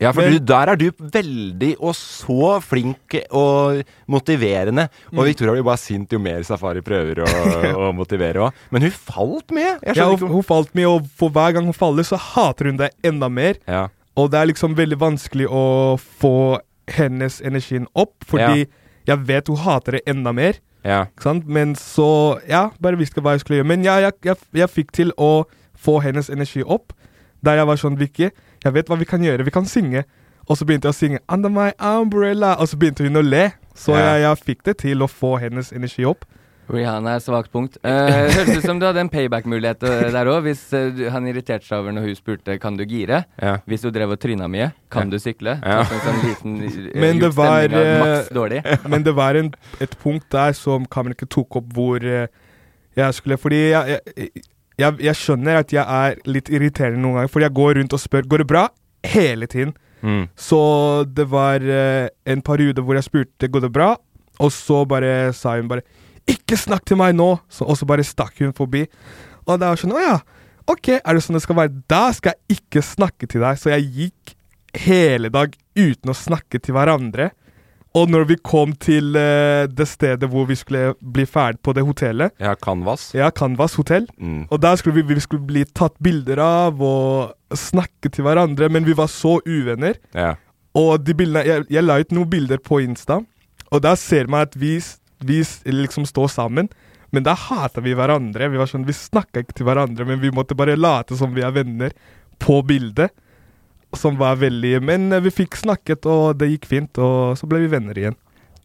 Speaker 5: Ja, for
Speaker 2: Men-
Speaker 5: du, der er du veldig og så flink og motiverende.
Speaker 3: Mm.
Speaker 5: Og Victoria blir bare sint jo mer Safari prøver å, å motivere òg. Men hun falt mye! Jeg
Speaker 2: Ja,
Speaker 5: skjønner
Speaker 2: hun,
Speaker 5: ikke om
Speaker 2: hun falt mye, og for hver gang hun faller, så hater hun det enda mer.
Speaker 5: ja.
Speaker 2: Og det er liksom veldig vanskelig å få hennes energien opp, fordi jeg vet hun hater det enda mer.
Speaker 5: Ja.
Speaker 2: Ikke sant? Men så Ja, bare visste ikke hva jeg skulle gjøre. Men ja, jeg, jeg, jeg fikk til å få hennes energi opp. Der jeg var sånn Vicky, jeg vet hva vi kan gjøre. Vi kan synge. Og så begynte jeg å synge 'Under my umbrella', og så begynte hun å le. Så
Speaker 5: Ja.
Speaker 2: jeg, jeg fikk det til å få hennes energi opp.
Speaker 3: Rihanna er svakt punkt. Eh, Hørtes ut som du hadde en payback-mulighet eh, der òg. Hvis eh, du, han irriterte seg over når hun spurte kan du gire.
Speaker 5: Ja.
Speaker 3: Hvis du drev og tryna mye, kan du sykle?
Speaker 5: Ja.
Speaker 3: Sånn, sånn liten eh,
Speaker 2: Men det
Speaker 3: gjort
Speaker 2: var,
Speaker 3: stemning av maks
Speaker 2: eh,
Speaker 3: dårlig.
Speaker 2: Men det var en, et punkt der som kameraet ikke tok opp hvor eh, jeg skulle Fordi jeg, jeg, jeg, jeg skjønner at jeg er litt irriterende noen ganger, fordi jeg går rundt og spør Går det bra hele tiden.
Speaker 5: Mm.
Speaker 2: Så det var eh, en periode hvor jeg spurte går det bra, og så bare sa hun bare 'Ikke snakk til meg nå!' Så, og så bare stakk hun forbi. Og da var jeg sånn 'Å ja, ok, er det sånn det skal være?' Da skal jeg ikke snakke til deg. Så jeg gikk hele dag uten å snakke til hverandre. Og når vi kom til eh, det stedet hvor vi skulle bli ferdig på det hotellet
Speaker 5: Ja, Canvas.
Speaker 2: Ja, Canvas hotell.
Speaker 5: Mm.
Speaker 2: Og der skulle vi, vi skulle bli tatt bilder av og snakke til hverandre, men vi var så uvenner.
Speaker 5: Ja.
Speaker 2: Og de bildene, jeg, jeg la ut noen bilder på Insta, og der ser man at vi, s- vi s- liksom står sammen. Men da hata vi hverandre. Vi var sånn, vi snakka ikke til hverandre, men vi måtte bare late som vi er venner på bildet. Som var veldig Men eh, vi fikk snakket, og det gikk fint, og så ble vi venner igjen.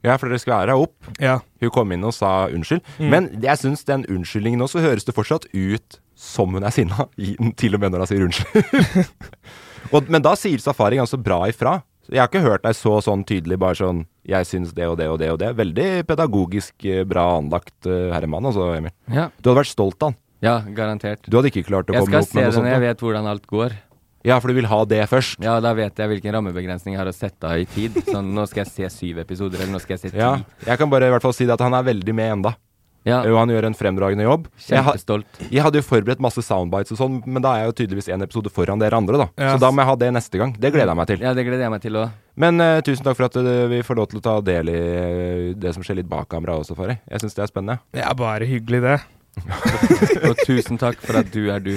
Speaker 5: ja, for dere skulle være opp.
Speaker 2: Ja.
Speaker 5: Hun kom inn og sa unnskyld.
Speaker 3: Mm.
Speaker 5: Men jeg syns den unnskyldningen nå, så høres det fortsatt ut som hun er sinna. i- Til og med når hun sier unnskyld. og, men da sier Safari ganske altså bra ifra. Jeg har ikke hørt deg så sånn tydelig bare sånn Jeg syns det og det og det og det. Veldig pedagogisk eh, bra anlagt eh, herremann, altså, Emil.
Speaker 3: Ja,
Speaker 5: Du hadde vært stolt av han.
Speaker 3: ja garantert.
Speaker 5: Du hadde ikke klart å
Speaker 3: Jeg
Speaker 5: komme
Speaker 3: skal
Speaker 5: opp med
Speaker 3: se
Speaker 5: noe
Speaker 3: det
Speaker 5: sånt.
Speaker 3: når jeg
Speaker 5: da.
Speaker 3: vet hvordan alt går.
Speaker 5: Ja, for du vil ha det først.
Speaker 3: Ja, da vet jeg hvilken rammebegrensning jeg har å sette av i tid. Sånn, nå skal jeg se syv episoder, eller nå skal jeg se ti.
Speaker 5: Ja, jeg kan bare i hvert fall si det at han er veldig med enda.
Speaker 3: Mm. Ja,
Speaker 5: Jo, han gjør en fremragende jobb. Jeg, ha,
Speaker 3: kjempestolt.
Speaker 5: jeg hadde jo forberedt masse soundbites og sånn, men da er jeg jo tydeligvis en episode foran dere andre, da.
Speaker 2: Ja.
Speaker 5: Så da må jeg ha det neste gang. Det gleder jeg meg til.
Speaker 3: Ja, det gleder jeg meg til òg.
Speaker 5: Men eh, tusen takk for at eh, vi får lov til å ta del i eh, det som skjer litt bak kamera også, Fari. Jeg syns det er spennende.
Speaker 2: Det er bare hyggelig, det.
Speaker 3: Og tusen takk for at du er du.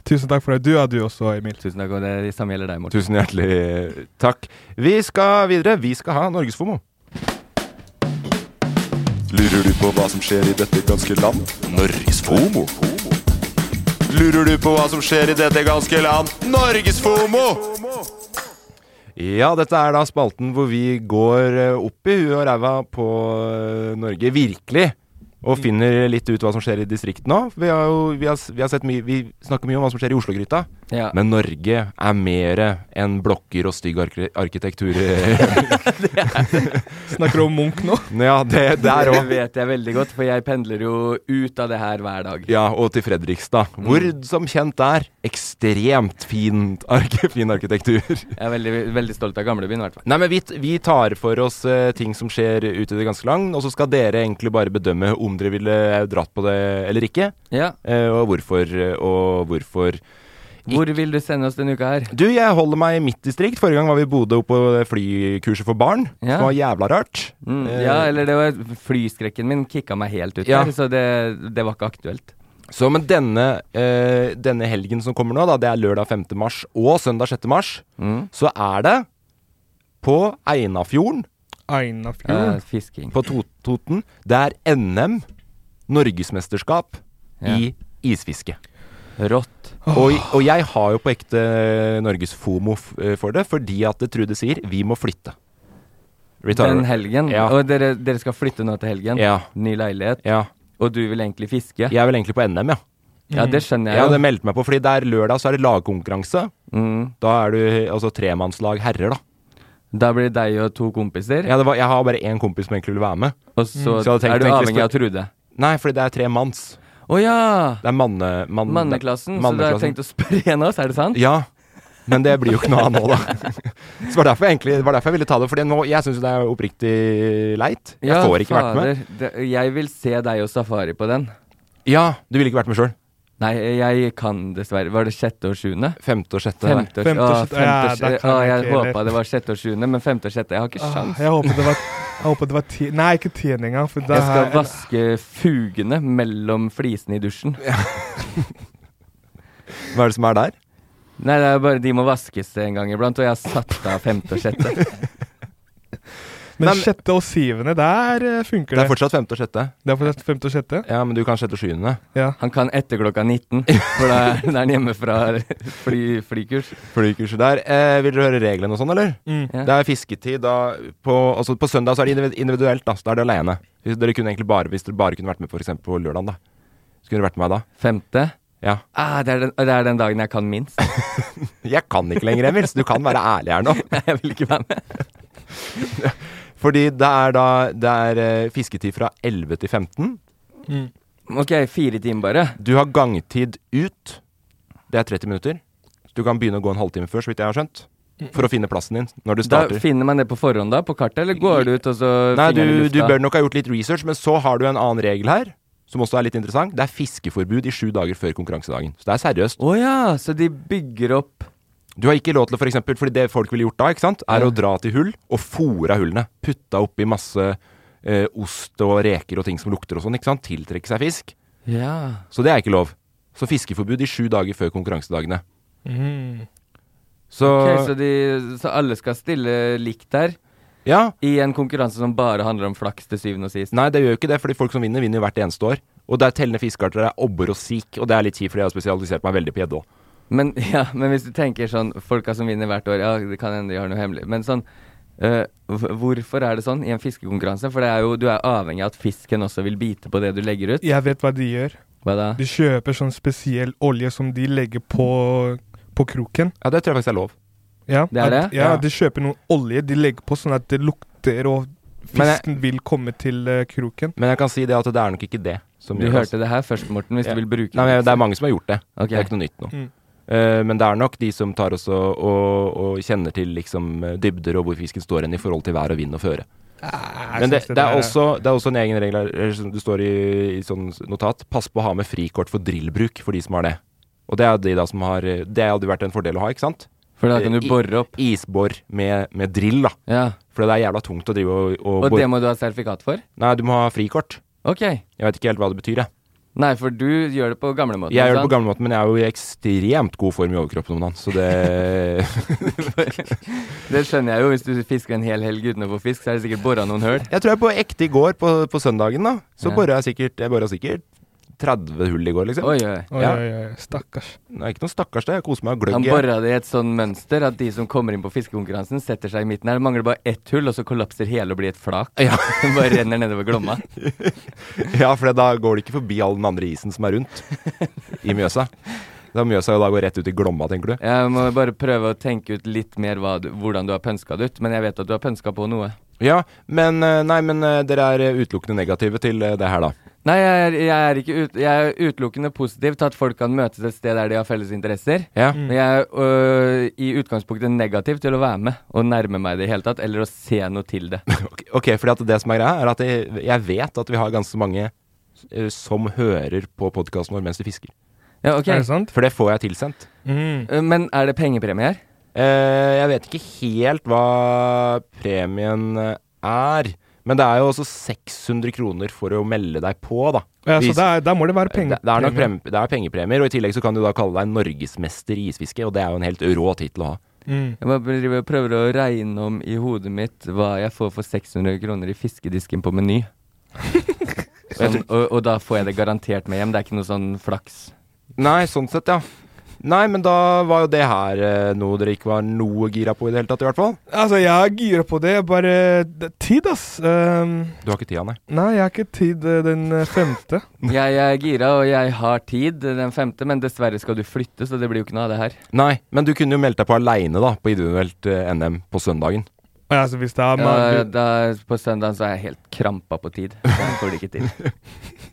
Speaker 2: Tusen takk for det. Du er du også, Emil.
Speaker 3: Tusen takk, og det samme gjelder deg, Morten.
Speaker 5: Tusen hjertelig eh, takk. Vi skal videre. Vi skal ha Norgesfomo.
Speaker 6: Lurer du på hva som skjer i dette ganske land? Norges FOMO. Lurer du på hva som skjer i dette ganske land? Norges FOMO!
Speaker 5: Ja, dette er da spalten hvor vi går eh, opp i huet og ræva på eh, Norge, virkelig. Og finner litt ut hva som skjer i distriktene òg. Vi, har jo- vi, har s- vi, har sett mye- vi snakker mye om hva som skjer i Oslo-gryta.
Speaker 3: Ja.
Speaker 5: Men Norge er mer enn blokker og stygg arki- arkitektur. eh.
Speaker 2: Snakker du om Munch nå?
Speaker 5: ja, det der
Speaker 3: Det
Speaker 5: òg.
Speaker 3: vet jeg veldig godt, for jeg pendler jo ut av det her hver dag.
Speaker 5: Ja, og til Fredrikstad. Hvor som kjent er ekstremt fint ark fin arkitektur.
Speaker 3: Jeg er veldig, veldig stolt av gamlebyen, i hvert fall.
Speaker 5: Nei, men vi, t- vi tar for oss eh, ting som skjer ute i det ganske land, og så skal dere egentlig bare bedømme om dere ville dratt på det eller ikke,
Speaker 3: Ja.
Speaker 5: eh, og hvorfor, eh, og hvorfor.
Speaker 3: Hvor vil du sende oss denne uka her?
Speaker 5: Du, jeg holder meg i mitt distrikt. Forrige gang var vi i Bodø oppe på det flykurset for barn,
Speaker 3: Ja.
Speaker 5: som var jævla rart.
Speaker 3: Mm,
Speaker 5: Eh,
Speaker 3: ja, eller det var flyskrekken min kicka meg helt ut
Speaker 5: Ja.
Speaker 3: der, så det, det var ikke aktuelt.
Speaker 5: Så, men denne, eh, denne helgen som kommer nå, da, det er lørdag 5. mars og søndag 6. mars, så er det på Einafjorden
Speaker 3: Eh,
Speaker 2: Einafjorden.
Speaker 3: fisking.
Speaker 5: på to Toten. Det er NM, norgesmesterskap,
Speaker 3: Ja.
Speaker 5: i isfiske.
Speaker 3: Rått.
Speaker 5: Og, og jeg har jo på ekte eh, Norges FOMO f- eh, for det, fordi at det Trude sier vi må flytte. Retire.
Speaker 3: Den helgen.
Speaker 5: Ja.
Speaker 3: Og dere, dere skal flytte nå til helgen.
Speaker 5: Ja.
Speaker 3: Ny leilighet.
Speaker 5: ja.
Speaker 3: Og du vil egentlig fiske.
Speaker 5: Jeg er vel egentlig på NM, ja.
Speaker 3: Ja, det skjønner
Speaker 5: Jeg
Speaker 3: jeg
Speaker 5: hadde
Speaker 3: jo.
Speaker 5: meldt meg på, fordi det er lørdag, så er det lagkonkurranse.
Speaker 3: Mm.
Speaker 5: Da er du altså tremannslag herrer, da.
Speaker 3: Da blir det deg og to kompiser,
Speaker 5: Ja, det var, jeg har bare én kompis som egentlig vil være med.
Speaker 3: og så
Speaker 5: Så hadde jeg tenkt
Speaker 3: er du
Speaker 5: egentlig
Speaker 3: avhengig
Speaker 5: spør-
Speaker 3: av Trude.
Speaker 5: Nei, fordi det er tre manns.
Speaker 3: Å ja!
Speaker 5: Det er manne... mann-
Speaker 3: Manneklassen. Så da har jeg
Speaker 5: manneklassen.
Speaker 3: tenkt å spørre en av oss, er det sant?
Speaker 5: Ja, men det blir jo ikke noe av nå, da. Så det var derfor jeg, egentlig, det var derfor jeg ville ta det. For nå, jeg syns jo det er oppriktig leit. Jeg
Speaker 3: Ja,
Speaker 5: får ikke vært med.
Speaker 3: fader. Det- Jeg vil se deg og Safari på den.
Speaker 5: Ja, du ville ikke vært med sjøl.
Speaker 3: Nei, jeg kan dessverre. Var det sjette og sjuende?
Speaker 5: Femte og sjette. der.
Speaker 3: Femte og
Speaker 2: Femte og
Speaker 3: ah,
Speaker 2: sjette.
Speaker 3: femte og
Speaker 2: Ja,
Speaker 3: sjette.
Speaker 2: da kan
Speaker 3: Ah,
Speaker 2: jeg
Speaker 3: Jeg
Speaker 2: ikke heller.
Speaker 3: håpa det var sjette og sjuende, men femte og sjette Jeg har ikke
Speaker 2: Ah,
Speaker 3: sjans.
Speaker 2: jeg håper det var, jeg håper det var ti... Nei, ikke tiden engang. For det
Speaker 3: Jeg skal
Speaker 2: her-
Speaker 3: vaske fugene mellom flisene i dusjen.
Speaker 5: Hva er det som er der?
Speaker 3: Nei, det er bare de må vaskes en gang iblant, og jeg har satt av femte og sjette.
Speaker 2: Men
Speaker 5: Men-
Speaker 2: sjette og syvende, der eh, funker
Speaker 5: Det
Speaker 2: det.
Speaker 5: er fortsatt femte og sjette.
Speaker 2: Det er fortsatt femte og sjette?
Speaker 5: Ja, men du kan sjette og sjuende.
Speaker 2: Ja.
Speaker 3: Han kan etter klokka 19, for da er da er han hjemme fra fly, flykurs.
Speaker 5: Flykurset der. Eh, vil dere høre reglene og sånn, eller?
Speaker 2: Mm.
Speaker 3: Ja.
Speaker 5: Det er fisketid da på, altså på søndag så er det individ- individuelt, da. Så da er det aleine. Hvis dere kunne egentlig bare, hvis dere bare kunne vært med for eksempel på lørdagen, da. Skulle dere vært med meg da?
Speaker 3: Femte?
Speaker 5: Ja.
Speaker 3: Ah, det, er den, det er den dagen jeg kan minst.
Speaker 5: Jeg kan ikke lenger, Emil, så du kan være ærlig her nå.
Speaker 3: Nei, jeg vil ikke være med.
Speaker 5: Fordi det er da det er eh, fisketid fra 11 til 15.
Speaker 3: Ok, fire timer bare.
Speaker 5: Du har gangtid ut. Det er 30 minutter. Du kan begynne å gå en halvtime før, så vidt jeg har skjønt. For å finne plassen din når du
Speaker 3: Da
Speaker 5: starter.
Speaker 3: finner man det på forhånd da, på kartet, eller går du ut og så
Speaker 5: Nei,
Speaker 3: fingeren i
Speaker 5: du, du
Speaker 3: lufta?
Speaker 5: bør nok ha gjort litt research, men så har du en annen regel her. Som også er litt interessant. Det er fiskeforbud i sju dager før konkurransedagen. Så det er seriøst.
Speaker 3: Å ja, så de bygger opp
Speaker 5: Du har ikke lov til å for eksempel, fordi det folk ville gjort da, ikke sant, er
Speaker 3: Ja.
Speaker 5: å dra til hull og fôre hullene. Putta oppi masse eh, ost og reker og ting som lukter og sånn, ikke sant. Tiltrekke seg fisk.
Speaker 3: Ja.
Speaker 5: Så det er ikke lov. Så fiskeforbud i sju dager før konkurransedagene. Så,
Speaker 3: Ok, så, de, så alle skal stille likt der?
Speaker 5: Ja.
Speaker 3: I en konkurranse som bare handler om flaks til syvende og sist?
Speaker 5: Nei, det gjør jo ikke det, fordi folk som vinner, vinner jo hvert eneste år. Og det er tellende fiskearter, det er abbor og sik, og det er litt kjipt, fordi jeg har spesialisert meg veldig på gjedde òg.
Speaker 3: Men, ja, men hvis du tenker sånn Folka som vinner hvert år, ja, det kan hende de har noe hemmelig. Men sånn eh, hv- Hvorfor er det sånn i en fiskekonkurranse? For det er jo, du er avhengig av at fisken også vil bite på det du legger ut.
Speaker 2: Jeg vet hva de gjør.
Speaker 3: Hva da?
Speaker 2: De kjøper sånn spesiell olje som de legger på, på kroken.
Speaker 5: Ja, det tror jeg faktisk er lov.
Speaker 2: Ja,
Speaker 3: Det er
Speaker 2: at,
Speaker 3: det?
Speaker 2: ja,
Speaker 3: Ja.
Speaker 2: de kjøper noe olje de legger på sånn at det lukter, og
Speaker 5: Men jeg-
Speaker 2: fisken vil komme til eh, kroken.
Speaker 5: Men jeg kan si det at det er nok ikke det som
Speaker 3: Du
Speaker 5: gjør oss-
Speaker 3: hørte det her først, Morten, hvis
Speaker 5: Ja.
Speaker 3: du vil bruke
Speaker 5: Nei, men det er mange som har gjort det.
Speaker 3: Ok.
Speaker 5: Det er ikke noe nytt nå.
Speaker 2: Mm.
Speaker 5: Eh, men det er nok de som tar også og, og kjenner til liksom eh, dybder og hvor fisken står hen i forhold til vær og vind og føre.
Speaker 2: Jeg
Speaker 5: Men det,
Speaker 2: synes
Speaker 5: det, er
Speaker 2: der
Speaker 5: også, det er også en egen regel her, eller som det står i, i sånn notat. Pass på å ha med frikort for drillbruk for de som har det. Og det er jo de da som har eh, Det hadde vært en fordel å ha, ikke sant?
Speaker 3: For da kan
Speaker 5: Eh,
Speaker 3: du bore opp.
Speaker 5: I, isbor med, med drill, da.
Speaker 3: Ja.
Speaker 5: For det er jævla tungt å drive og, og,
Speaker 3: Og
Speaker 5: bore.
Speaker 3: det må du ha sertifikat for?
Speaker 5: Nei, du må ha frikort.
Speaker 3: Ok.
Speaker 5: Jeg vet ikke helt hva det betyr, jeg.
Speaker 3: Nei, for du gjør det på gamlemåten.
Speaker 5: Jeg gjør det på gamlemåten, men jeg er jo i ekstremt god form i overkroppen om dagen, så det
Speaker 3: Det skjønner jeg jo. Hvis du fisker en hel helg uten å få fisk, så er det sikkert bora noen høl.
Speaker 5: Jeg tror jeg på ekte i går, på, på søndagen, da, så
Speaker 3: Ja.
Speaker 5: borra jeg sikkert Jeg borra sikkert 30 hull i går, liksom.
Speaker 3: Oi, oi.
Speaker 2: Oi,
Speaker 5: Ja.
Speaker 2: oi, oi, stakkars.
Speaker 5: Det er ikke noe stakkars det. Jeg koser meg og
Speaker 3: Han
Speaker 5: gløgg. jeg.
Speaker 3: bora det i et sånn mønster at de som kommer inn på fiskekonkurransen, setter seg i midten her. Det mangler bare ett hull, og så kollapser hele og blir et flak.
Speaker 5: Ja.
Speaker 3: Den bare renner nedover Glomma.
Speaker 5: Ja, for da går det ikke forbi all den andre isen som er rundt i Mjøsa. Da Mjøsa jo da går rett ut i Glomma, tenker du.
Speaker 3: Jeg må bare prøve å tenke ut litt mer hva du, hvordan du har pønska det ut, men jeg vet at du har pønska på noe.
Speaker 5: Ja, men eh, Nei, men eh, dere er eh, utelukkende negative til eh, det her, da.
Speaker 3: Nei, jeg er, jeg er, ikke ut, jeg er utelukkende positiv til at folk kan møtes et sted der de har felles interesser.
Speaker 5: Ja.
Speaker 3: Men jeg er øh, i utgangspunktet negativ til å være med og nærme meg det i det hele tatt, eller å se noe til det.
Speaker 5: Ok, Ok, fordi at det som er greia, er at jeg, jeg vet at vi har ganske mange eh, som hører på podkasten vår mens de fisker.
Speaker 3: Ja, ok.
Speaker 2: Er det sant?
Speaker 5: For det får jeg tilsendt.
Speaker 2: Mm.
Speaker 3: Øh, Men er det pengepremie her?
Speaker 5: Eh, jeg vet ikke helt hva premien eh, er, men det er jo også 600 kroner for å melde deg på, da.
Speaker 2: Ja, så
Speaker 5: Hvis-
Speaker 2: der, der må det være
Speaker 5: det,
Speaker 2: penger.
Speaker 5: det er nok prem, det er pengepremier, og i tillegg så kan du da kalle deg norgesmester i isfiske, og det er jo en helt rå tittel å ha.
Speaker 2: Mm.
Speaker 3: Jeg bare driver og prøver å regne om i hodet mitt hva jeg får for 600 kroner i fiskedisken på Meny. Sånn, og, og da får jeg det garantert med hjem. Det er ikke noe sånn flaks.
Speaker 5: Nei, sånn sett, ja. Nei, men da var jo det her eh, noe dere ikke var noe gira på i det hele tatt, i hvert fall.
Speaker 2: Altså, jeg er gira på det. Bare det, Tid, ass. Ehm,
Speaker 5: Du har ikke tida, nei.
Speaker 2: nei, jeg har ikke tid eh, den eh, femte.
Speaker 3: Jeg er gira, og jeg har tid den femte, men dessverre skal du flytte, så det blir jo ikke noe av det her.
Speaker 5: Nei, men du kunne jo meldt deg på aleine, da, på individuelt eh, NM på søndagen.
Speaker 2: Ja, altså, hvis det er
Speaker 3: Ja,
Speaker 2: man,
Speaker 3: da, på søndagen så er jeg helt krampa på tid. Så jeg får det ikke til.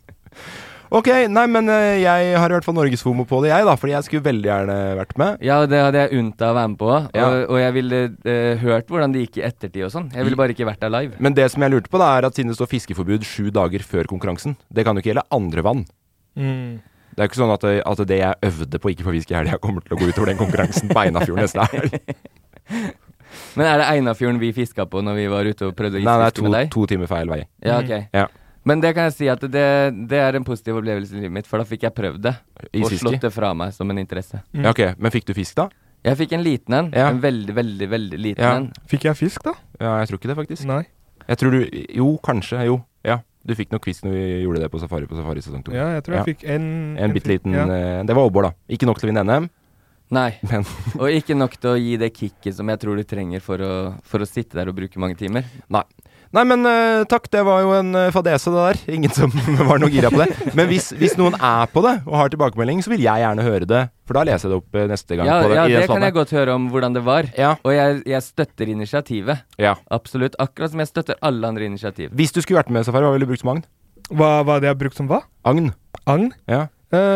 Speaker 5: Ok, nei, men eh, jeg har i hvert fall norgesfomo på det, jeg, da, fordi jeg skulle veldig gjerne vært med.
Speaker 3: Ja, og det hadde jeg unt deg å være med på òg,
Speaker 5: Ja.
Speaker 3: og, og jeg ville eh, hørt hvordan det gikk i ettertid og sånn. Jeg ville bare ikke vært der live.
Speaker 5: Men det som jeg lurte på, da, er at siden det står fiskeforbud sju dager før konkurransen, det kan jo ikke gjelde andre vann.
Speaker 2: mm.
Speaker 5: Det er jo ikke sånn at, at det jeg øvde på ikke får fiske i helga, kommer til å gå utover den konkurransen på Einafjorden neste helg.
Speaker 3: Men er det Einafjorden vi fiska på når vi var ute og prøvde å
Speaker 5: Nei, det er
Speaker 3: isfiske
Speaker 5: to,
Speaker 3: med deg? Mm.
Speaker 5: to timer feil vei.
Speaker 3: Ja, ok.
Speaker 5: Ja.
Speaker 3: Men det kan jeg si at det, det er en positiv opplevelse i livet mitt, for da fikk jeg prøvd det. Og
Speaker 5: Isfiske?
Speaker 3: slått det fra meg som en interesse.
Speaker 5: ja, ok. Men fikk du fisk, da?
Speaker 3: Jeg fikk en liten en.
Speaker 5: Ja.
Speaker 3: En veldig, veldig veldig liten
Speaker 5: Ja.
Speaker 3: en.
Speaker 2: Fikk jeg fisk, da?
Speaker 5: Ja, jeg tror ikke det, faktisk.
Speaker 2: Nei.
Speaker 5: Jeg tror du Jo, kanskje. Jo. Ja. Du fikk nok fisk når vi gjorde det på safari på safari sesong to.
Speaker 2: Ja, jeg tror jeg
Speaker 5: Ja.
Speaker 2: fikk en
Speaker 5: En bitte liten
Speaker 2: ja.
Speaker 5: eh, Det var obbor, da. Ikke nok til å vinne NM,
Speaker 3: Nei.
Speaker 5: men
Speaker 3: Og ikke nok til å gi det kicket som jeg tror du trenger for å, for å sitte der og bruke mange timer.
Speaker 5: Nei. Nei, men eh, takk, det var jo en eh, fadese det der. Ingen som var noe gira på det. Men hvis, hvis noen er på det og har tilbakemelding, så vil jeg gjerne høre det. For da leser jeg det opp eh, neste gang.
Speaker 3: Ja,
Speaker 5: på det,
Speaker 3: ja
Speaker 5: i
Speaker 3: det
Speaker 5: spalten.
Speaker 3: kan jeg godt høre om hvordan det var. Og jeg, jeg støtter initiativet.
Speaker 5: Ja.
Speaker 3: Absolutt. Akkurat som jeg støtter alle andre initiativ.
Speaker 5: Hvis du skulle vært med, Safari, hva ville du brukt som agn?
Speaker 2: Hva var det jeg har brukt som hva?
Speaker 5: Agn?
Speaker 2: Agn?
Speaker 5: Ja.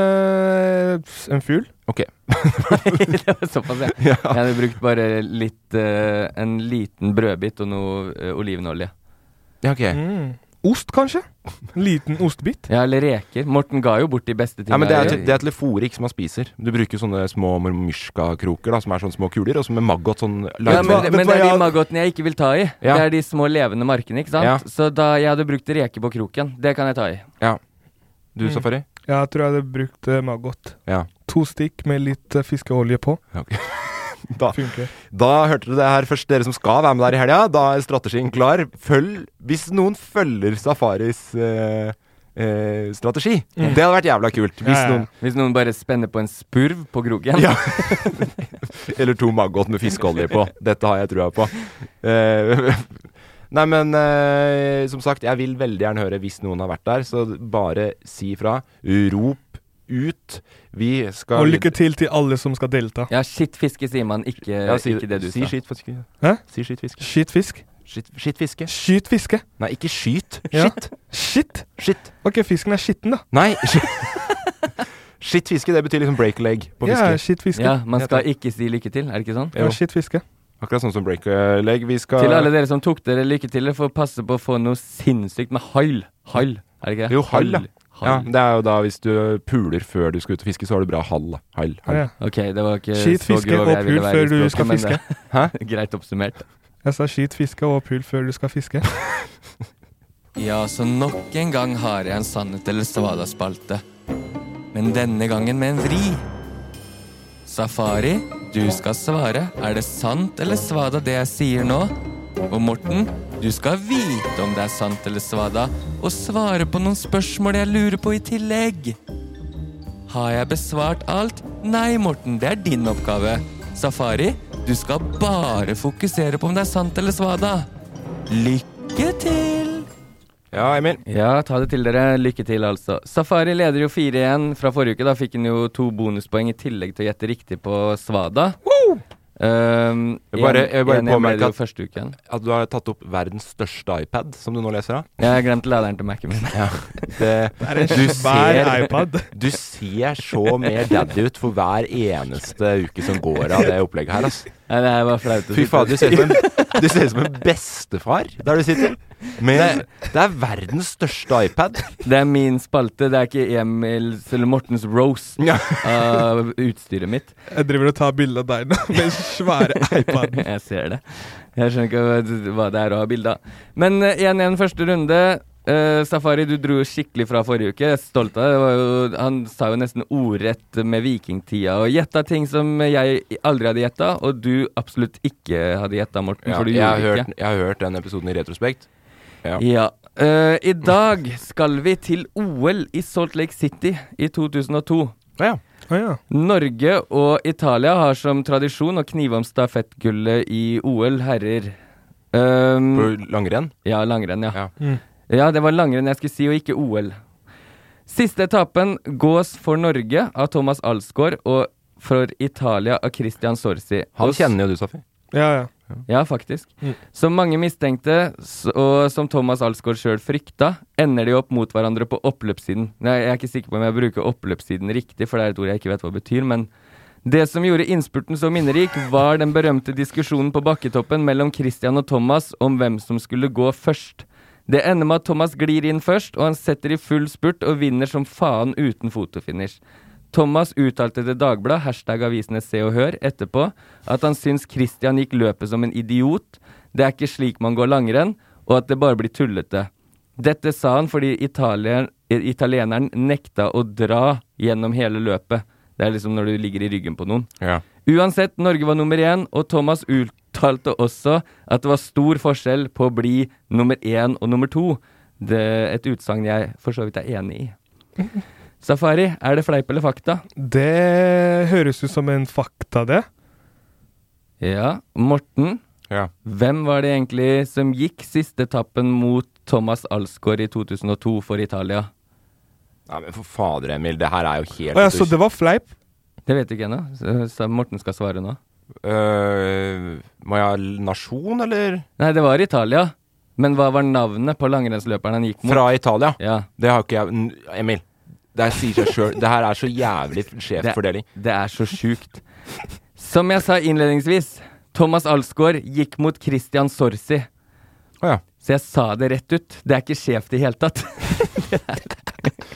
Speaker 2: Eh, en fugl.
Speaker 5: Ok.
Speaker 3: det var såpass, jeg.
Speaker 5: Ja.
Speaker 3: Jeg hadde brukt bare litt, eh, en liten brødbit og noe eh, olivenolje.
Speaker 5: Ja, ok.
Speaker 2: Mm. Ost, kanskje? En liten ostebit?
Speaker 3: Ja, eller reker. Morten ga jo bort de beste tingene.
Speaker 5: Ja, men det er, til- det er til fôrik som man spiser. Du bruker sånne små mormyrska-kroker, da, som er sånne små kuler, og som med maggot sånn
Speaker 3: Ja,
Speaker 5: lagd
Speaker 3: men,
Speaker 5: med-
Speaker 3: men det er de maggotene jeg ikke vil ta i.
Speaker 5: Ja.
Speaker 3: Det er de små levende markene, ikke sant.
Speaker 5: Ja.
Speaker 3: Så da jeg hadde brukt reker på kroken, det kan jeg ta i.
Speaker 5: Ja. Du,
Speaker 2: Mm.
Speaker 5: Safari?
Speaker 2: Jeg tror jeg hadde brukt eh, maggot.
Speaker 5: Ja.
Speaker 2: To stikk med litt eh, fiskeolje på.
Speaker 5: Da,
Speaker 2: Funker.
Speaker 5: da hørte du det her først, dere som skal være med der i helga. Da er strategien klar. Følg Hvis noen følger Safaris eh, eh, strategi
Speaker 3: Mm.
Speaker 5: Det hadde vært jævla kult. Hvis noen
Speaker 3: Hvis noen bare spenner på en spurv på kroken.
Speaker 5: Ja. Eller to maggot med fiskeolje på. Dette har jeg trua på. Eh, nei, men eh, som sagt, jeg vil veldig gjerne høre hvis noen har vært der, så bare si fra. Rop ut. Vi skal
Speaker 2: Og lykke til til alle som skal delta.
Speaker 3: Ja, skittfiske sier man, ikke,
Speaker 5: Ja, si-
Speaker 3: ikke det du
Speaker 5: si
Speaker 3: sa.
Speaker 5: skittfiske.
Speaker 2: Hæ?
Speaker 5: Si skittfiske.
Speaker 2: Skyt fisk.
Speaker 5: Skitt, skittfiske.
Speaker 2: Skyt fiske.
Speaker 5: Nei, ikke skyt.
Speaker 2: Ja.
Speaker 5: Skitt.
Speaker 2: Shit.
Speaker 5: Shit.
Speaker 2: Ok, fisken er skitten, da.
Speaker 5: Nei. Skittfiske, det betyr liksom break leg på fiske.
Speaker 2: Ja, shit fiske.
Speaker 3: Ja, man skal
Speaker 5: Heter
Speaker 3: ikke si lykke til, er det ikke sånn?
Speaker 5: Jo.
Speaker 2: Ja, shit fiske.
Speaker 5: Akkurat sånn som break eh, leg. Vi skal
Speaker 3: Til alle dere som tok dere lykke til, dere får passe på å få noe sinnssykt med hall. Hall, er det ikke det?
Speaker 5: Jo, hall, ja. Ja,
Speaker 3: Hall.
Speaker 5: det er jo da hvis du puler før du skal ut og fiske, så har du bra hall. da. Hall, hall.
Speaker 2: Ja.
Speaker 3: Ok, det var ikke
Speaker 2: Skyt
Speaker 3: så
Speaker 2: fiske
Speaker 3: grov
Speaker 2: og
Speaker 3: jeg ville
Speaker 2: pul
Speaker 3: være i
Speaker 2: før du
Speaker 3: språket,
Speaker 2: skal
Speaker 3: men
Speaker 2: fiske.
Speaker 3: det-
Speaker 5: Hæ?
Speaker 3: Greit oppsummert.
Speaker 2: Jeg sa skyt fiske og pul før du skal fiske.
Speaker 3: Ja, så nok en gang har jeg en sannhet eller svada-spalte. Men denne gangen med en vri. Safari, du skal svare. Er det sant eller svada det jeg sier nå? Og Morten, du skal vite om det er sant eller svada, og svare på noen spørsmål jeg lurer på i tillegg. Har jeg besvart alt? Nei, Morten, det er din oppgave. Safari, du skal bare fokusere på om det er sant eller svada. Lykke til!
Speaker 5: Ja, Emil.
Speaker 3: Ja, ta det til dere. Lykke til, altså. Safari leder jo 4-1 fra forrige uke. Da fikk han jo to bonuspoeng i tillegg til å gjette riktig på Svada. Um,
Speaker 5: Jeg bare- jeg bare
Speaker 3: en- en- en ble
Speaker 5: påmerker
Speaker 3: det jo
Speaker 5: at-
Speaker 3: første uken.
Speaker 5: At du har tatt opp verdens største iPad, som du nå leser av.
Speaker 3: Jeg har glemt laderen til Mac-en min.
Speaker 5: Ja. Det,
Speaker 2: er en
Speaker 5: du
Speaker 2: svær
Speaker 5: ser-
Speaker 2: iPad.
Speaker 5: Du ser så mer daddy ut for hver eneste uke som går av det opplegget her. Altså.
Speaker 3: Nei, det er bare flaut.
Speaker 5: Fy
Speaker 3: å sitte-
Speaker 5: faen, du ser ut som en- du ser ut som en bestefar der du sitter. Med, det er verdens største iPad.
Speaker 3: Det er min spalte. Det er ikke Emils eller Mortens roast
Speaker 5: Ja.
Speaker 3: av utstyret mitt.
Speaker 2: Jeg driver og tar bilde av deg nå med den svære iPaden.
Speaker 3: Jeg ser det. Jeg skjønner ikke hva- hva det er å ha bilde av. Men eh, 1-1 første runde. Eh, Safari, du dro jo skikkelig fra forrige uke. Jeg er stolt av deg. Det var jo- Han sa jo nesten ordrett med vikingtida og gjetta ting som jeg aldri hadde gjetta, og du absolutt ikke hadde gjetta, Morten,
Speaker 5: Ja,
Speaker 3: for du
Speaker 5: jeg, har
Speaker 3: gjorde det
Speaker 5: hørt,
Speaker 3: ikke.
Speaker 5: jeg har hørt den episoden i retrospekt. Ja.
Speaker 3: Ja. Eh, I dag skal vi til OL i Salt Lake City i 2002.
Speaker 5: Ja.
Speaker 2: Å ja.
Speaker 3: Norge og Italia har som tradisjon å knive om stafettgullet i OL herrer. Ehm,
Speaker 5: På langrenn.
Speaker 3: ja, langrenn, ja.
Speaker 5: Ja.
Speaker 3: ja. det var langrenn jeg skulle si, og ikke OL. Siste etappen gås for Norge av Thomas Alsgaard og for Italia av Christian Sorsi.
Speaker 5: Han
Speaker 3: Og s-
Speaker 5: kjenner jo du, Safi.
Speaker 2: ja, ja.
Speaker 3: Ja, faktisk.
Speaker 2: Mm.
Speaker 3: Som mange mistenkte, s- og som Thomas Alsgaard sjøl frykta, ender de opp mot hverandre på oppløpssiden. Nei, jeg er ikke sikker på om jeg bruker oppløpssiden riktig, for det er et ord jeg ikke vet hva betyr, men det som gjorde innspurten så minnerik, var den berømte diskusjonen på bakketoppen mellom Christian og Thomas om hvem som skulle gå først. Det ender med at Thomas glir inn først, og han setter i full spurt og vinner som faen uten fotofinish. Thomas uttalte til Dagbladet, hashtag avisene Se og Hør, etterpå at han syns Christian gikk løpet som en idiot, det er ikke slik man går langrenn, og at det bare blir tullete. Dette sa han fordi italier, italieneren nekta å dra gjennom hele løpet. Det er liksom når du ligger i ryggen på noen.
Speaker 5: Ja.
Speaker 3: Uansett, Norge var nummer én, og Thomas uttalte også at det var stor forskjell på å bli nummer én og nummer to. Det er et utsagn jeg for så vidt er enig i. Safari, er det fleip eller fakta?
Speaker 2: Det høres ut som en fakta, det.
Speaker 3: Ja. Morten,
Speaker 5: Ja.
Speaker 3: Hvem var det egentlig som gikk siste etappen mot Thomas Alsgaard i 2002 for Italia?
Speaker 5: Nei, men for fader, Emil. Det her er jo
Speaker 2: Å
Speaker 5: helt
Speaker 2: ja, så det var fleip?
Speaker 3: Det vet du ikke ennå. så- så Morten skal svare nå.
Speaker 5: Øh, må jeg ha l- nasjon, eller?
Speaker 3: Nei, det var Italia. Men hva var navnet på langrennsløperen han gikk mot?
Speaker 5: Fra Italia?
Speaker 3: Ja.
Speaker 5: Det har ikke jeg N- Emil, det her sier seg sjøl. Det her er så jævlig sjeffordeling.
Speaker 3: Det, det er så sjukt. Som jeg sa innledningsvis, Thomas Alsgaard gikk mot Christian Sorsi. Så jeg sa det rett ut. Det er ikke skjevt i det hele tatt.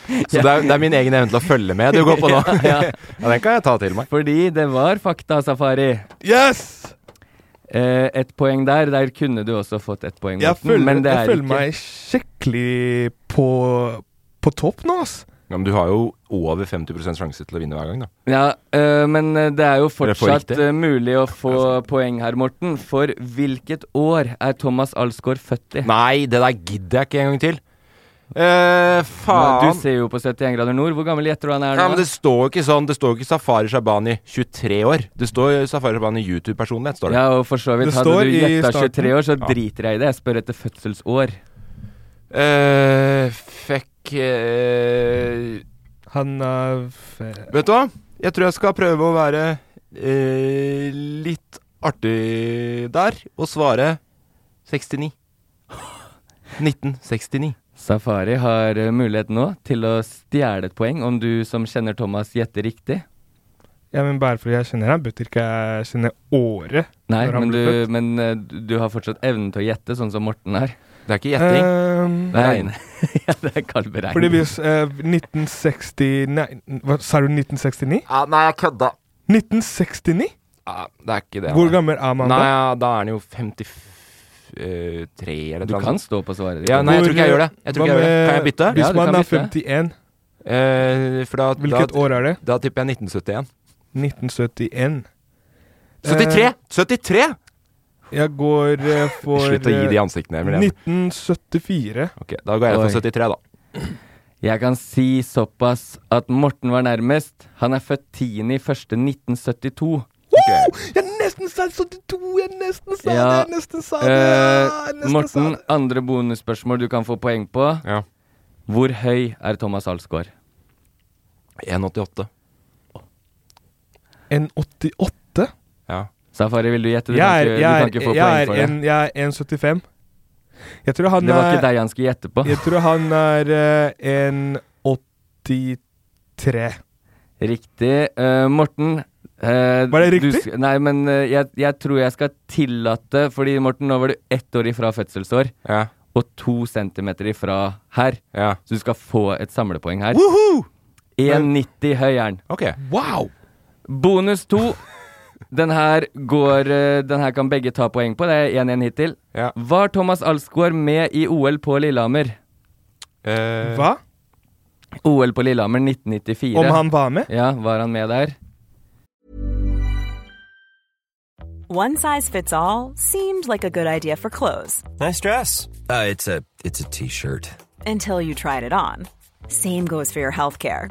Speaker 5: Så det er, det er min egen evne til å følge med du går på nå.
Speaker 3: Ja, ja.
Speaker 5: ja, den kan jeg ta til meg.
Speaker 3: Fordi det var faktasafari.
Speaker 2: Yes!
Speaker 3: Eh, et poeng der. Der kunne du også fått et poeng.
Speaker 2: Jeg
Speaker 3: Morten,
Speaker 2: føler,
Speaker 3: men det
Speaker 2: jeg
Speaker 3: er
Speaker 2: føler
Speaker 3: ikke-
Speaker 2: meg skikkelig på, på topp nå, ass.
Speaker 5: Ja, men du har jo over 50 sjanse til å vinne hver gang, da.
Speaker 3: Ja, øh, men øh, det er jo
Speaker 5: Dere får
Speaker 3: fortsatt
Speaker 5: riktig.
Speaker 3: øh, mulig å få poeng her, Morten. For hvilket år er Thomas Alsgaard født i?
Speaker 5: Nei, det der gidder jeg ikke en gang til. Eh,
Speaker 3: faen.
Speaker 5: faen.
Speaker 3: Du ser jo på 71 grader nord. Hvor gammel gjetter du han er
Speaker 5: Ja,
Speaker 3: nå?
Speaker 5: men Det står jo ikke sånn. Det står jo ikke Safari Shabani 23 år. Det står jo Safari Shabani YouTube-personlighet, står det.
Speaker 3: Ja, og for så vidt.
Speaker 5: Det
Speaker 3: Hadde
Speaker 5: står
Speaker 3: du
Speaker 5: i
Speaker 3: gjetta
Speaker 5: starten.
Speaker 3: 23 år, så
Speaker 5: Ja.
Speaker 3: driter jeg i det. Jeg spør etter fødselsår.
Speaker 5: Eh, fuck eh,
Speaker 2: Han er
Speaker 5: Vet du hva? Jeg tror jeg skal prøve å være eh, litt artig der, og svare 69. 1969.
Speaker 3: Safari har øh, mulighet nå til å stjele et poeng om du som kjenner Thomas, gjetter riktig.
Speaker 2: Ja, men Bare fordi jeg kjenner ham, betyr ikke jeg kjenner året.
Speaker 3: Nei,
Speaker 2: når han
Speaker 3: men,
Speaker 2: ble
Speaker 3: du,
Speaker 2: født.
Speaker 3: men øh, du har fortsatt evnen til å gjette, sånn som Morten er.
Speaker 5: Det er ikke
Speaker 2: gjetting. Ehm,
Speaker 3: nei, nei. ja, det er kald beregning.
Speaker 2: Fordi hvis eh, 1960 Nei, hva, sa du 1969?
Speaker 5: nei, jeg kødda.
Speaker 2: 1969?
Speaker 5: Ja, det er ikke det.
Speaker 2: Hvor
Speaker 5: han
Speaker 2: gammel er man
Speaker 5: nei,
Speaker 2: da?
Speaker 5: ja, da er han jo 53 eller noe
Speaker 3: Du kan stå på svaret ditt.
Speaker 5: Ja, nei, jeg
Speaker 3: Hvor-
Speaker 5: tror ikke jeg gjør det. Jeg tror
Speaker 2: hva
Speaker 5: ikke jeg gjør det. Kan jeg
Speaker 2: med-
Speaker 5: bytte?
Speaker 2: Hvis Ja, du man kan er bytte. 51
Speaker 5: Eh, for da,
Speaker 2: Hvilket
Speaker 5: da,
Speaker 2: år er det?
Speaker 5: Da tipper jeg 1971.
Speaker 2: 1971.
Speaker 5: 73!
Speaker 2: Eh,
Speaker 5: 73!
Speaker 2: jeg går eh, for
Speaker 5: Slutt å gi de ansiktene, Emil.
Speaker 2: 1974.
Speaker 5: Ok, da går jeg for
Speaker 3: Oi.
Speaker 5: 73, da.
Speaker 3: Jeg kan si såpass at Morten var nærmest. Han er født 10.01.1972.
Speaker 2: Jeg nesten sa 72! Jeg nesten sa det! Jeg nesten sa det!
Speaker 3: eh,
Speaker 2: jeg nesten sa
Speaker 3: Morten,
Speaker 2: det.
Speaker 3: andre bonusspørsmål du kan få poeng på. Hvor høy er Thomas Alsgaard?
Speaker 5: 1,88.
Speaker 2: En 88?
Speaker 5: Ja.
Speaker 3: Safari, vil du gjette? Du,
Speaker 2: Jeg er,
Speaker 3: kan, ikke, du
Speaker 2: jeg
Speaker 3: kan ikke få
Speaker 2: er, jeg
Speaker 3: poeng for
Speaker 2: er, en, jeg er 1,75. Jeg tror han
Speaker 3: det. Det var
Speaker 2: er
Speaker 3: ikke deg han skulle gjette på.
Speaker 2: Jeg tror han er eh, en 83.
Speaker 3: Riktig. Eh, Morten eh,
Speaker 2: Var det
Speaker 3: du
Speaker 2: riktig?
Speaker 3: sk- nei, men eh, jeg, jeg tror jeg skal tillate Fordi, Morten, nå var du ett år ifra fødselsår. Og to centimeter ifra her. Så du skal få et samlepoeng her.
Speaker 5: Woohoo!
Speaker 3: 1,90 høy er den.
Speaker 5: Ok. Wow!
Speaker 3: Bonus to. Den her, går, eh, den her kan begge ta poeng på. Det er 1-1 hittil. Var Thomas Alsgaard med i OL på Lillehammer?
Speaker 5: eh,
Speaker 2: Hva?
Speaker 3: OL på Lillehammer 1994.
Speaker 2: Om han var med?
Speaker 3: Ja, var han med der?
Speaker 7: One size fits all seemed like a good idea for clothes
Speaker 8: Nice dress. Uh, it's a it's a t-shirt.
Speaker 7: until you tried it on. Same goes for your healthcare.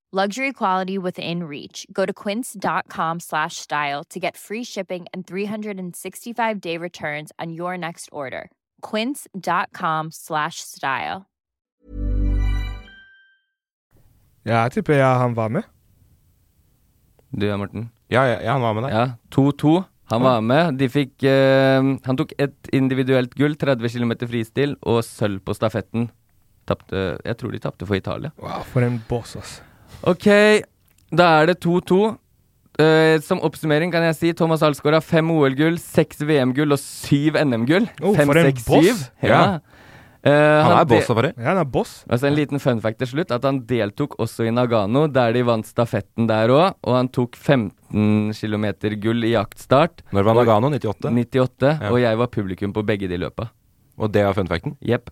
Speaker 9: Luxury quality within reach. Go to quince.com slash style to get free shipping and 365 day returns on your next order. Quince.com slash style.
Speaker 2: Ja, jeg tipper jeg han var med.
Speaker 3: Du ja, Morten?
Speaker 5: Ja, han var med deg.
Speaker 3: Ja, 2-2. Han var med. De fikk eh, Han tok et individuelt gull, 30 km fristil, og sølv på stafetten. Tapte Jeg tror de tapte for Italia.
Speaker 2: Wow, Ah, for en boss, ass.
Speaker 3: Ok, da er det 2-2. Eh, som oppsummering kan jeg si Thomas Alsgaard har fem OL-gull, seks VM-gull og syv NM-gull.
Speaker 2: Oh,
Speaker 3: Fem,
Speaker 2: for en
Speaker 3: seks,
Speaker 2: boss!
Speaker 3: syv. Ja.
Speaker 2: Ja.
Speaker 3: Eh,
Speaker 2: Han er
Speaker 3: de-
Speaker 2: boss, da, bare. Ja, han er boss.
Speaker 3: Altså En liten fun fact til slutt, at han deltok også i Nagano, der de vant stafetten der òg. Og han tok 15 km gull i jaktstart.
Speaker 5: Når var Nagano? 98?
Speaker 3: 98,
Speaker 5: Ja.
Speaker 3: Og jeg var publikum på begge de løpa.
Speaker 5: Og det er var fun facten?
Speaker 3: Jepp.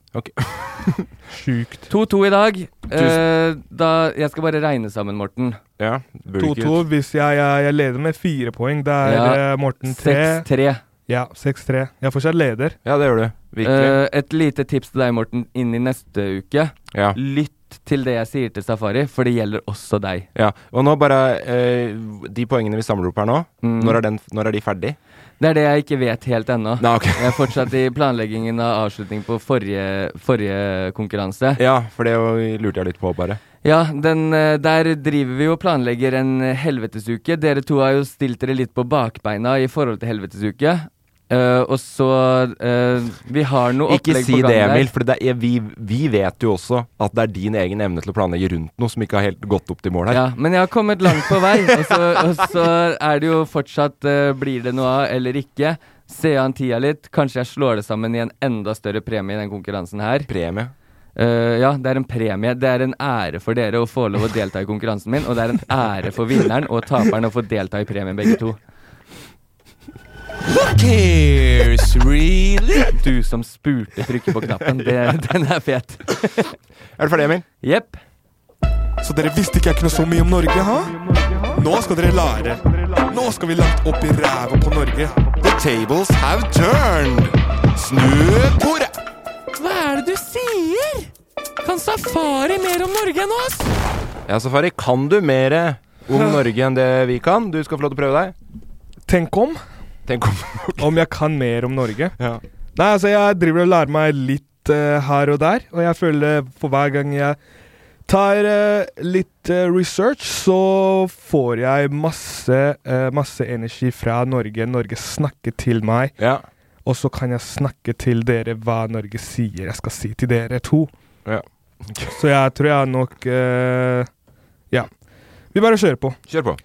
Speaker 2: Sjukt.
Speaker 3: 2-2 i dag. Eh, da, jeg skal bare regne sammen, Morten.
Speaker 5: Ja,
Speaker 2: 2-2 hvis jeg, jeg, jeg leder med fire poeng. Da er
Speaker 3: Ja,
Speaker 2: eh, Morten tre.
Speaker 3: 6-3.
Speaker 2: Ja, 6-3. Jeg er fortsatt leder.
Speaker 5: Ja, det gjør du.
Speaker 3: Eh, et lite tips til deg, Morten, inn i neste uke.
Speaker 5: Ja.
Speaker 3: Lytt til det jeg sier til Safari, for det gjelder også deg.
Speaker 5: Ja, og nå bare eh, De poengene vi samler opp her nå,
Speaker 3: Mm.
Speaker 5: når, er den, når er de ferdig?
Speaker 3: Det er det jeg ikke vet helt ennå. jeg er fortsatt i planleggingen av avslutning på forrige, forrige konkurranse.
Speaker 5: Ja, for det jo lurte jeg litt på, bare.
Speaker 3: Ja, den, eh, der driver vi og planlegger en eh, helvetesuke. Dere to har jo stilt dere litt på bakbeina i forhold til helvetesuke. Eh, og så eh, Vi har noe
Speaker 5: Ikke
Speaker 3: opplegg
Speaker 5: si
Speaker 3: på gang
Speaker 5: det,
Speaker 3: der.
Speaker 5: Emil, for det er, vi, vi vet jo også at det er din egen evne til å planlegge rundt noe som ikke har helt gått opp til mål her.
Speaker 3: Ja, men jeg har kommet langt på vei, og så, og så er det jo fortsatt eh, Blir det noe av eller ikke? Se an tida litt. Kanskje jeg slår det sammen i en enda større premie i den konkurransen her. Eh,
Speaker 5: Premie?
Speaker 3: ja, det er en premie. Det er en ære for dere å få lov å delta i konkurransen min, og det er en ære for vinneren og taperen å få delta i premien, begge to.
Speaker 5: Tears, really?
Speaker 3: Du som spurte trykker på knappen. Det, den er fet.
Speaker 5: Er du ferdig, Emil?
Speaker 3: Jepp.
Speaker 2: Så dere visste ikke jeg kunne så mye om Norge, ha? Nå skal dere lære. Nå skal vi langt opp i ræva på Norge.
Speaker 6: The tables have turned. Snu bordet.
Speaker 4: Hva er det du sier? Kan safari mer om Norge enn oss?
Speaker 5: Ja, Safari, kan du mer om Norge enn det vi kan? Du skal få lov til å prøve deg.
Speaker 2: Tenk om.
Speaker 5: Tenk om.
Speaker 2: om jeg kan mer om Norge.
Speaker 5: Ja.
Speaker 2: Nei, altså, jeg driver og lærer meg litt eh, her og der, og jeg føler for hver gang jeg tar eh, litt eh, research, så får jeg masse, eh, masse energi fra Norge. Norge snakker til meg. Og så kan jeg snakke til dere hva Norge sier jeg skal si til dere to.
Speaker 5: Ja.
Speaker 2: Så jeg tror jeg nok eh, Ja. Vi bare kjører på.
Speaker 5: Kjør på.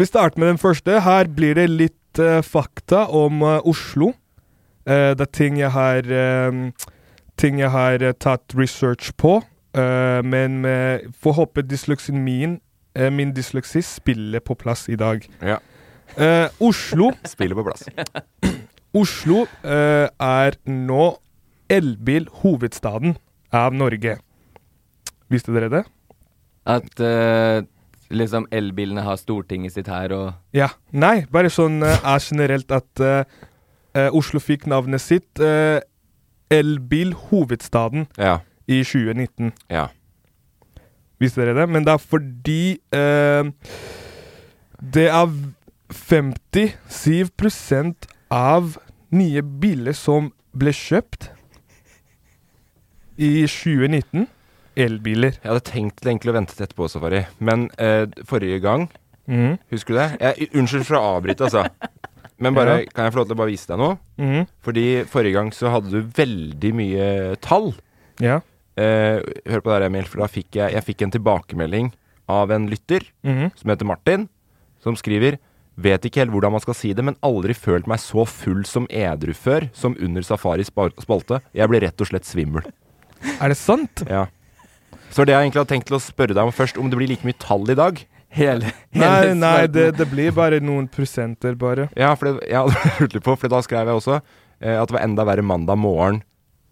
Speaker 2: Vi starter med den første. Her blir det litt eh, fakta om eh, Oslo. Eh, det er ting jeg har eh, Ting jeg har eh, tatt research på. eh, men eh, får håpe dysleksien min, eh, min dysleksi, spiller på plass i dag.
Speaker 5: Ja.
Speaker 2: Eh, Oslo
Speaker 5: Spiller på plass.
Speaker 2: Oslo eh, er nå elbilhovedstaden av Norge. Visste dere det?
Speaker 3: At eh, liksom elbilene har Stortinget sitt her og
Speaker 2: Ja. Nei, bare sånn eh, er generelt at eh, eh, Oslo fikk navnet sitt eh, Elbilhovedstaden
Speaker 5: Ja.
Speaker 2: i 2019.
Speaker 5: Ja.
Speaker 2: Visste dere det? Men det er fordi eh, det er 57 av nye biler som ble kjøpt i 2019, elbiler.
Speaker 5: Jeg hadde tenkt egentlig å vente til etterpå, Safari. Men eh, forrige gang,
Speaker 2: Mhm.
Speaker 5: husker du det? Jeg, unnskyld for å avbryte, altså. Men bare,
Speaker 2: Ja.
Speaker 5: kan jeg få lov til å bare vise deg noe?
Speaker 2: Mhm.
Speaker 5: Fordi forrige gang så hadde du veldig mye tall.
Speaker 2: Ja.
Speaker 5: Eh, hør på det her, Emil, for da fikk jeg, jeg fikk en tilbakemelding av en lytter
Speaker 2: Mhm.
Speaker 5: som heter Martin, som skriver Vet ikke helt hvordan man skal si det, men aldri følt meg så full som edru før, som under Safaris spal- spalte. Jeg ble rett og slett svimmel.
Speaker 2: Er det sant?
Speaker 5: Ja. Så det jeg egentlig hadde tenkt til å spørre deg om først, om det blir like mye tall i dag?
Speaker 3: Hele,
Speaker 2: Nei,
Speaker 3: hele
Speaker 2: nei
Speaker 3: spalten.
Speaker 2: det, det blir bare noen prosenter, bare.
Speaker 5: Ja, for det, ja, det lurte jeg på, for da skrev jeg også eh, at det var enda verre mandag morgen.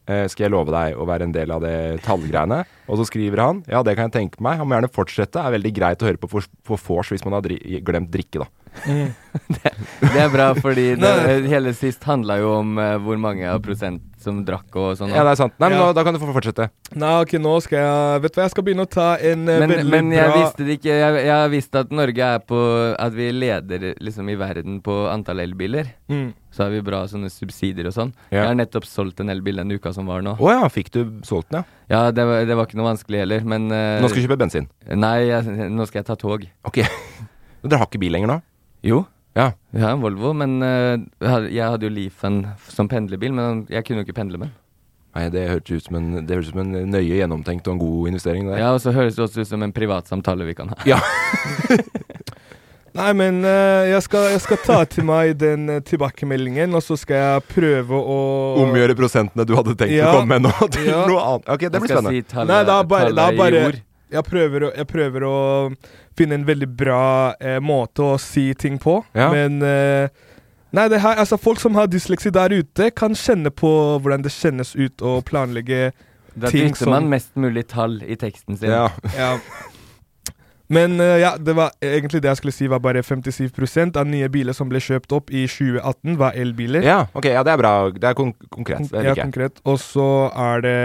Speaker 5: Eh, skal jeg love deg å være en del av det tallgreiene? Og så skriver han ja, det kan jeg tenke meg. Han må gjerne fortsette. Er veldig greit å høre på for- på vors hvis man har dri glemt drikke, da.
Speaker 3: det, det er bra, fordi det, hele sist handla jo om eh, hvor mange av prosent som drakk og sånn.
Speaker 5: Ja, det er sant. Nei, men
Speaker 2: Ja.
Speaker 5: nå, da kan du få fortsette.
Speaker 2: Nei, ok, nå skal jeg Vet du hva, jeg skal begynne å ta en eh,
Speaker 3: Men,
Speaker 2: veldig
Speaker 3: men jeg
Speaker 2: bra
Speaker 3: visste det ikke jeg, jeg visste at Norge er på At vi leder liksom i verden på antall elbiler.
Speaker 2: Mm.
Speaker 3: Så har vi bra sånne subsidier og sånn.
Speaker 5: Ja.
Speaker 3: Jeg har nettopp solgt en elbil den uka som var nå.
Speaker 5: Å ja, fikk du solgt den, ja?
Speaker 3: Ja, det var, det var ikke noe vanskelig heller, men eh,
Speaker 5: Nå skal du kjøpe bensin?
Speaker 3: Nei, jeg, nå skal jeg ta tog.
Speaker 5: Ok. Dere har ikke bil lenger nå?
Speaker 3: Jo.
Speaker 5: Ja.
Speaker 3: Vi har en Volvo, men eh, jeg had- jeg hadde jo Leafen som pendlerbil, men jeg kunne jo ikke pendle med den.
Speaker 5: Nei, det hørtes ut som en, det hørtes ut som en nøye gjennomtenkt og en god investering. Det der.
Speaker 3: Ja, og så høres det også ut som en privatsamtale vi kan ha.
Speaker 5: Ja.
Speaker 2: Nei, men eh, jeg, skal, jeg skal ta til meg den eh, tilbakemeldingen, og så skal jeg prøve å
Speaker 5: Omgjøre prosentene du hadde tenkt å komme med nå, til noe annet. Ok, det blir spennende.
Speaker 2: Nei, det er bare, det er bare jeg, prøver å, jeg prøver å finne en veldig bra eh, måte å si ting på,
Speaker 5: Ja.
Speaker 2: men eh, Nei, det her, altså Folk som har dysleksi der ute, kan kjenne på hvordan det kjennes ut å planlegge
Speaker 3: Da
Speaker 2: ting
Speaker 3: dytter
Speaker 2: som
Speaker 3: man mest mulig tall i teksten sin.
Speaker 2: Ja. Men eh, ja, det var egentlig det jeg skulle si, var bare 57 av nye biler som ble kjøpt opp i 2018, var elbiler.
Speaker 5: Ja, ok, ja, det er bra. Det er kon konkret. Det
Speaker 2: ja,
Speaker 5: liker jeg.
Speaker 2: konkret. Og så er det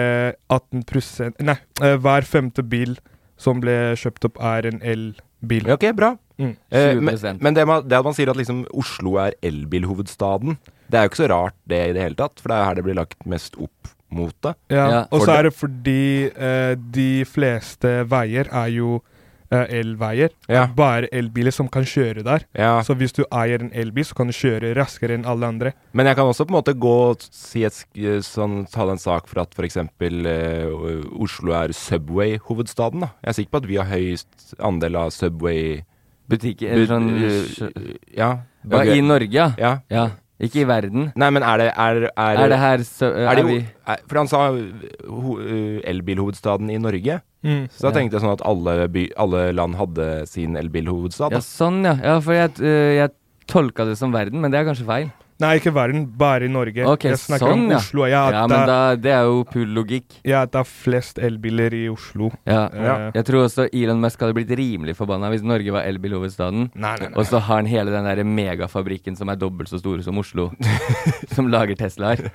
Speaker 2: 18 Nei, eh, hver femte bil som ble kjøpt opp, er en elbil.
Speaker 5: Ok, bra.
Speaker 2: Mm.
Speaker 5: Eh, men men det, man, det at man sier at liksom Oslo er elbilhovedstaden, det er jo ikke så rart det i det hele tatt, for det er her det blir lagt mest opp mot det.
Speaker 2: ja. Og
Speaker 5: For
Speaker 2: så er det fordi eh, de fleste veier er jo eh, elveier.
Speaker 5: Ja.
Speaker 2: Bare elbiler som kan kjøre der.
Speaker 5: Ja.
Speaker 2: Så hvis du eier en elbil, så kan du kjøre raskere enn alle andre.
Speaker 5: Men jeg kan også på en måte gå og si et, sk- sånn, ta en sak for at f.eks. Eh, Oslo er Subway-hovedstaden. da. Jeg er sikker på at vi har høyest andel av Subway
Speaker 3: Butikker, eller
Speaker 5: Bu-
Speaker 3: sånn,
Speaker 5: eh,
Speaker 3: skjø-
Speaker 5: Ja.
Speaker 3: Hva, i Norge, ja?
Speaker 5: ja.
Speaker 3: Ikke i verden.
Speaker 5: Nei, men er det Er,
Speaker 3: Er det her så- eh,
Speaker 5: er det
Speaker 3: er
Speaker 5: jo,
Speaker 3: vi-
Speaker 5: er, For han sa ho, eh, elbilhovedstaden i Norge.
Speaker 3: Mm.
Speaker 5: Så da
Speaker 3: Ja.
Speaker 5: tenkte jeg sånn at alle, by, alle land hadde sin elbilhovedstad. da.
Speaker 3: Ja, sånn, ja. ja for jeg, eh, jeg tolka det som verden, men det er kanskje feil.
Speaker 2: Nei, ikke verden, bare i Norge.
Speaker 3: Ok,
Speaker 2: jeg snakker
Speaker 3: sånn,
Speaker 2: om
Speaker 3: ja.
Speaker 2: Oslo. Ja,
Speaker 3: Ja, men da, det er jo pul logikk.
Speaker 2: Ja, det er flest elbiler i Oslo.
Speaker 3: Ja.
Speaker 2: Eh,
Speaker 3: Jeg tror også Elon Musk hadde blitt rimelig forbanna hvis Norge var elbilhovedstaden. Og så har han hele den der megafabrikken som er dobbelt så store som Oslo, som lager Teslaer.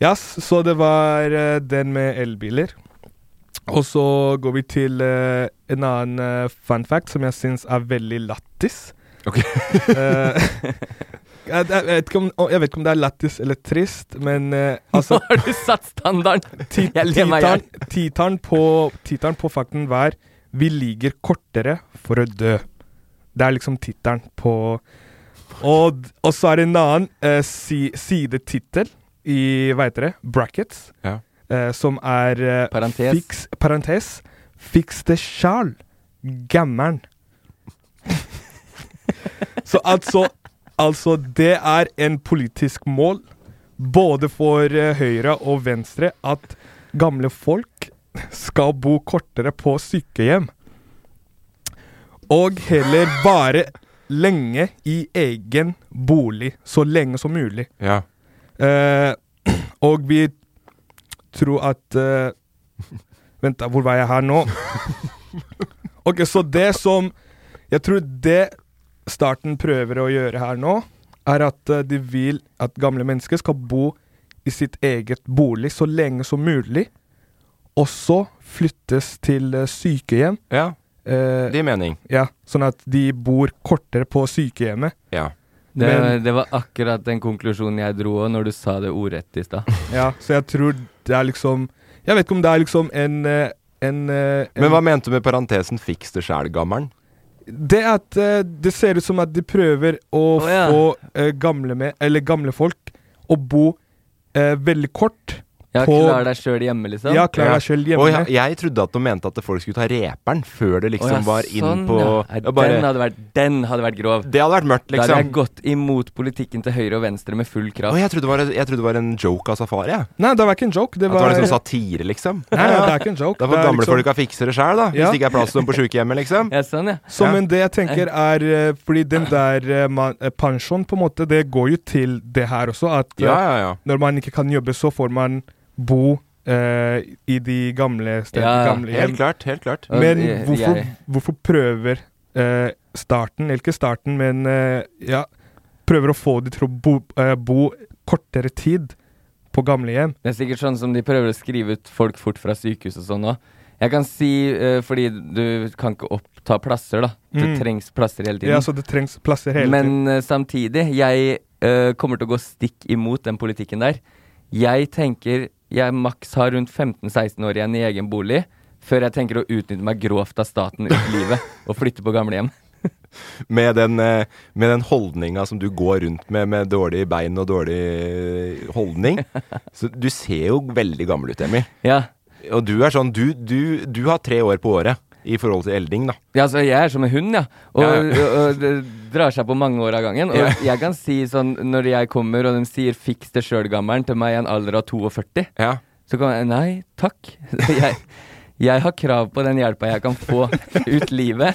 Speaker 2: Ja, s- så det var eh, den med elbiler. Og så går vi til eh, en annen eh, fun fact som jeg syns er veldig Eh, lattis.
Speaker 5: Ok.
Speaker 2: jeg, jeg, vet ikke om, jeg vet ikke om det er lattis eller trist, men eh, altså
Speaker 3: Nå har du satt standarden!
Speaker 2: ti-
Speaker 3: Jeg ler meg i hjel.
Speaker 2: titelen- Titelen på, titelen på fakten var 'Vi ligger kortere for å dø'. Det er liksom tittelen på Og, d- og så er det en annen eh, si, sidetittel i, hva heter det, brackets,
Speaker 5: Ja.
Speaker 2: eh, som er eh,
Speaker 3: Parentes.
Speaker 2: Fiks, parentes. Fiks det sjæl, gammern. så altså Altså, det er en politisk mål, både for eh, høyre og venstre, at gamle folk skal bo kortere på sykehjem. Og heller være lenge i egen bolig så lenge som mulig.
Speaker 5: Ja.
Speaker 2: Eh, og vi tror at eh, Vent, da, hvor var jeg her nå? Ok, så det som Jeg tror det staten prøver å gjøre her nå, er at eh, de vil at gamle mennesker skal bo i sitt eget bolig så lenge som mulig, og så flyttes til eh, sykehjem.
Speaker 5: Ja.
Speaker 2: Eh,
Speaker 5: Det gir mening.
Speaker 2: ja, sånn at de bor kortere på sykehjemmet.
Speaker 5: Ja.
Speaker 3: Det,
Speaker 2: Men-
Speaker 3: det var akkurat den konklusjonen jeg dro òg, når du sa det ordrett i stad.
Speaker 2: Ja, så jeg tror det er liksom Jeg vet ikke om det er liksom en, eh, en, eh, en
Speaker 5: Men hva mente du med parentesen 'fiks det sjæl, gammer'n'?
Speaker 2: Det at eh, det ser ut som at de prøver å
Speaker 5: Å, ja.
Speaker 2: få eh, gamle med Eller gamle folk å bo eh, veldig kort
Speaker 3: Ja,
Speaker 2: på
Speaker 3: Klar deg sjøl hjemme, liksom?
Speaker 2: Ja, klar deg selv hjemme.
Speaker 5: Og jeg, jeg trodde at de mente at folk skulle ta reperen før det liksom
Speaker 3: Å, ja,
Speaker 5: var inn
Speaker 3: sånn,
Speaker 5: på
Speaker 3: ja. Nei,
Speaker 5: Ja, bare-
Speaker 3: den, hadde vært, den hadde vært grov.
Speaker 5: Det hadde vært mørkt,
Speaker 3: Da hadde jeg
Speaker 5: liksom.
Speaker 3: gått imot politikken til høyre og venstre med full kraft.
Speaker 5: Å, jeg, trodde det var, jeg trodde det var en joke av Safari. jeg.
Speaker 2: Nei, det var ikke en joke. Det
Speaker 5: At det
Speaker 2: var,
Speaker 5: var liksom satire, liksom.
Speaker 2: Nei, nei, det er ikke en joke. Det
Speaker 5: Da får
Speaker 2: er
Speaker 5: gamle
Speaker 2: liksom-
Speaker 5: folka fikse det sjæl, da. Hvis
Speaker 2: Ja.
Speaker 5: det ikke er plass til dem på sjukehjemmet, liksom.
Speaker 3: Ja, sånn, ja.
Speaker 2: Så, men det jeg tenker er eh, Fordi den der eh, man- eh, pensjon, på en måte, det går jo til det her også. At eh,
Speaker 5: Ja, ja, ja.
Speaker 2: når man ikke kan jobbe, så får man bo eh, i de gamle stedene.
Speaker 5: Ja, ja.
Speaker 2: gamle
Speaker 5: Helt klart, helt klart.
Speaker 2: Men
Speaker 5: Jeg-
Speaker 2: hvorfor,
Speaker 5: jeg-
Speaker 2: hvorfor prøver eh, starten, eller ikke starten, men eh, ja Prøver å få de til å bo, eh, bo kortere tid på gamlehjem.
Speaker 3: Det er sikkert sånn som de prøver å skrive ut folk fort fra sykehus og sånn òg. Jeg kan si, eh, fordi du kan ikke oppta plasser, da. Det
Speaker 2: Mm.
Speaker 3: trengs plasser hele tiden.
Speaker 2: Ja, så det trengs plasser hele
Speaker 3: Men
Speaker 2: tiden.
Speaker 3: eh, samtidig, jeg eh, kommer til å gå stikk imot den politikken der. Jeg tenker jeg maks har rundt 15-16 år igjen i egen bolig før jeg tenker å utnytte meg grovt av staten ut livet og flytte på gamlehjem.
Speaker 5: Med den, eh, med den holdninga som du går rundt med, med dårlige bein og dårlig eh, holdning. Så du ser jo veldig gammel ut, Emil.
Speaker 3: Ja.
Speaker 5: Og du er sånn Du, du, du har tre år på året i forhold til elding, da.
Speaker 3: Ja, altså jeg er som en hund, ja. Og,
Speaker 5: Ja, ja.
Speaker 3: og, og det drar seg på mange år av gangen. Og
Speaker 5: Ja.
Speaker 3: jeg kan si sånn, når jeg kommer og de sier 'fiks det sjøl-gammelen' til meg i en alder av 42, så kan jeg Nei, takk. Jeg, jeg har krav på den hjelpa jeg kan få ut livet.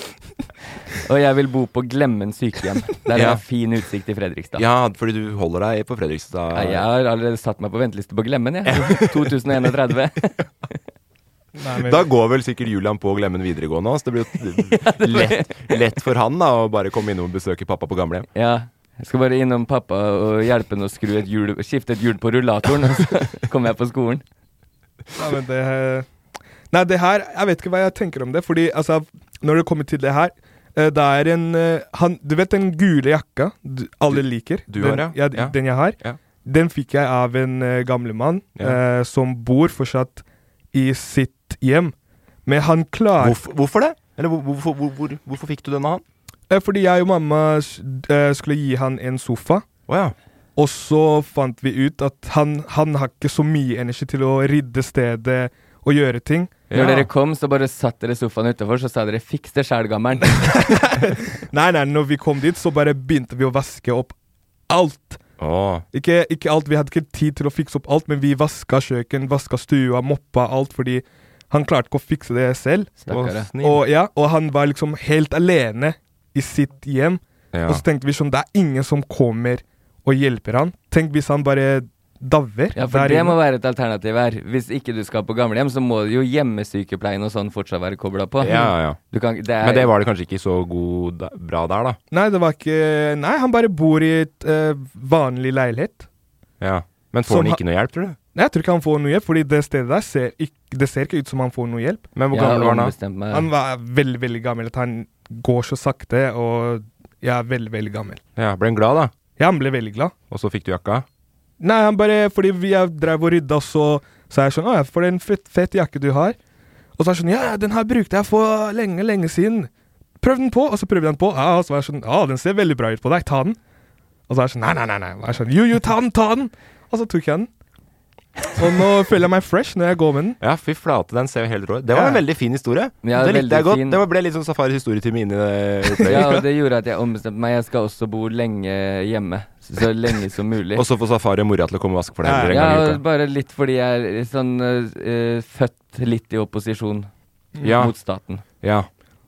Speaker 3: Og jeg vil bo på Glemmen sykehjem. Der jeg
Speaker 5: Ja.
Speaker 3: har fin utsikt til Fredrikstad.
Speaker 5: Ja, fordi du holder deg på Fredrikstad.
Speaker 3: Nei, Jeg har allerede satt meg på venteliste på Glemmen, jeg. 2031. men-
Speaker 5: Da går vel sikkert Julian på Glemmen videregående også, så Det blir jo lett, lett for han da å bare komme innom og besøke pappa på gamlehjem.
Speaker 3: Ja. Jeg skal bare innom pappa og hjelpe han å skru et hjul, skifte et hjul på rullatoren, og så kommer jeg på skolen.
Speaker 2: Nei, men det Nei, det her Jeg vet ikke hva jeg tenker om det, fordi altså Når det kommer til det her eh, det er en eh, han, Du vet den gule jakka du, alle liker?
Speaker 5: du
Speaker 2: den,
Speaker 5: har, ja. Ja.
Speaker 2: Den jeg har. Den fikk jeg av en uh, gamlemann
Speaker 5: Ja.
Speaker 2: eh, som bor fortsatt i sitt hjem. Men han klarer
Speaker 5: Hvorfor, hvorfor det? Eller hvor, hvorfor, hvor, hvor, hvorfor fikk du den av han?
Speaker 2: Eh, Fordi jeg og mamma s- eh, skulle gi han en sofa. Og så fant vi ut at han, han har ikke så mye energi til å rydde stedet og gjøre ting.
Speaker 3: Når dere kom, så bare satt dere i sofaen utafor, så sa dere 'fiks det sjæl, gammer'n'.
Speaker 2: Nei, nei, når vi kom dit, så bare begynte vi å vaske opp alt. Ikke, ikke alt, Vi hadde ikke tid til å fikse opp alt, men vi vaska kjøkken, vaska stua, moppa alt, fordi han klarte ikke å fikse det selv.
Speaker 3: Stakkare.
Speaker 2: Og, og, ja, og han var liksom helt alene i sitt hjem.
Speaker 5: Ja.
Speaker 2: Og så tenkte vi sånn, det er ingen som kommer og hjelper han. Tenk hvis han bare daver.
Speaker 3: Ja, for
Speaker 2: der
Speaker 3: det
Speaker 2: inne.
Speaker 3: må være et alternativ her. Hvis ikke du skal på gamlehjem, så må jo hjemmesykepleien og sånn fortsatt være kobla på.
Speaker 5: Ja, ja.
Speaker 3: Du kan, det er,
Speaker 5: Men det var det kanskje ikke så god, da- bra der, da.
Speaker 2: Nei, det var ikke Nei, han bare bor i et eh, vanlig leilighet.
Speaker 5: Ja. Men får
Speaker 2: Som
Speaker 5: han
Speaker 2: han-
Speaker 5: ikke noe hjelp, tror du?
Speaker 2: Nei, Jeg tror ikke han får noe hjelp, fordi det stedet der ser ikke, det ser ikke ut som han får noe hjelp.
Speaker 5: Men hvor Jeg gammel har var han da? ombestemt meg.
Speaker 2: Han var veldig, veldig gammel. At han går så sakte, og jeg er veldig, veldig gammel.
Speaker 5: Ja, Ble han glad, da?
Speaker 2: Ja, han ble veldig glad.
Speaker 5: Og så fikk du jakka?
Speaker 2: Nei, han bare Fordi vi jeg drev og rydda, så sa jeg sånn Å, jeg får en fett, fett jakke du har. Og så er jeg sånn Ja, ja, den her brukte jeg for lenge, lenge siden. Prøv den på. Og så prøvde jeg den på, ja, og så var jeg sånn Å, den ser veldig bra ut på deg. Ta den. Og så er jeg sånn Nei, nei, nei. nei. Og jeg er sånn, jo, jo, ta den, ta den. Og så tok jeg den. Og nå føler jeg meg fresh når jeg går med den.
Speaker 5: Ja, fy flate, den ser jo helt rå ut. Det var en
Speaker 2: Ja.
Speaker 5: veldig fin historie.
Speaker 3: Ja,
Speaker 5: det likte
Speaker 3: veldig
Speaker 5: jeg godt.
Speaker 3: fin.
Speaker 5: Det var- ble litt sånn Safaris historietime inn i det. opplegget.
Speaker 3: ja, og det gjorde at jeg ombestemte meg. Jeg skal også bo lenge hjemme. Så så lenge som mulig.
Speaker 5: Og så får Safari mora til å komme og vaske for deg heller en
Speaker 3: ja,
Speaker 5: gang i
Speaker 3: og
Speaker 5: uka.
Speaker 3: bare litt fordi jeg er sånn eh, eh, født litt i opposisjon
Speaker 5: Mm. Ja.
Speaker 3: mot staten.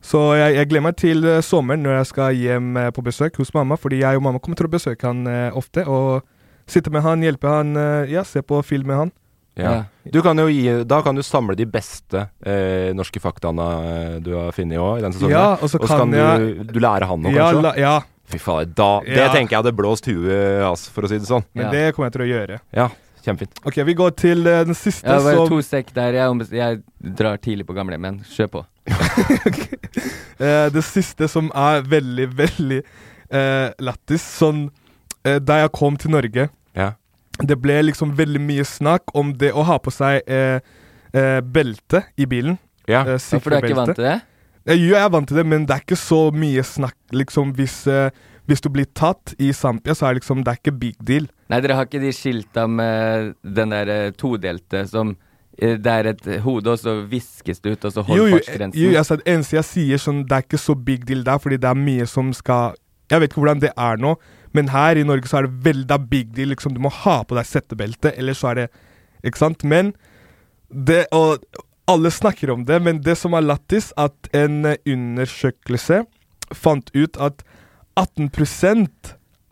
Speaker 2: Så jeg, jeg gleder meg til eh, sommeren når jeg skal hjem eh, på besøk hos mamma, fordi jeg og mamma kommer til å besøke han eh, ofte. Og sitte med han, hjelpe han, eh, ja, se på film med han.
Speaker 5: Ja. Du kan jo gi, da kan du samle de beste eh, norske faktaene eh, du har funnet òg i den sesongen.
Speaker 2: Ja,
Speaker 5: her.
Speaker 2: og så
Speaker 5: så kan
Speaker 2: kan jeg-
Speaker 5: du, du lære han noe,
Speaker 2: Ja,
Speaker 5: kanskje?
Speaker 2: la- ja.
Speaker 5: Fy faen, da, det
Speaker 2: Ja.
Speaker 5: tenker jeg hadde blåst huet hans, for å si det sånn.
Speaker 2: Men det kommer jeg til å gjøre.
Speaker 5: Ja, kjempefint.
Speaker 2: Ok, vi går til eh, den siste,
Speaker 3: Ja, bare
Speaker 2: som
Speaker 3: to sekk der. Jeg, ombes- jeg drar tidlig på gamlehjem igjen. Kjør på.
Speaker 2: Eh, det siste som er veldig, veldig eh, lættis Sånn eh, Da jeg kom til Norge,
Speaker 5: Ja.
Speaker 2: det ble liksom veldig mye snakk om det å ha på seg eh, eh, belte i bilen.
Speaker 5: Ja.
Speaker 2: Eh,
Speaker 3: Ja, for du er ikke
Speaker 2: sikkerhetsbelte.
Speaker 3: vant til det?
Speaker 2: Eh, Jo, jeg er vant til det, men det er ikke så mye snakk liksom hvis eh, hvis du blir tatt i Zampia, så er det liksom, det er ikke big deal.
Speaker 3: Nei, dere har ikke de skilta med den der eh, todelte som eh, Det er et hode, og så viskes det ut, og
Speaker 2: Jo,
Speaker 3: så holder
Speaker 2: jo,
Speaker 3: fartsgrensen.
Speaker 2: jo altså, det eneste jeg sier, sånn, det er ikke så big deal der, fordi det er mye som skal Jeg vet ikke hvordan det er nå, men her i Norge så er det veldig det er big deal. Liksom, du må ha på deg settebelte, ellers så er det Ikke sant? Men det Og alle snakker om det, men det som er lættis, at en eh, undersøkelse fant ut at 18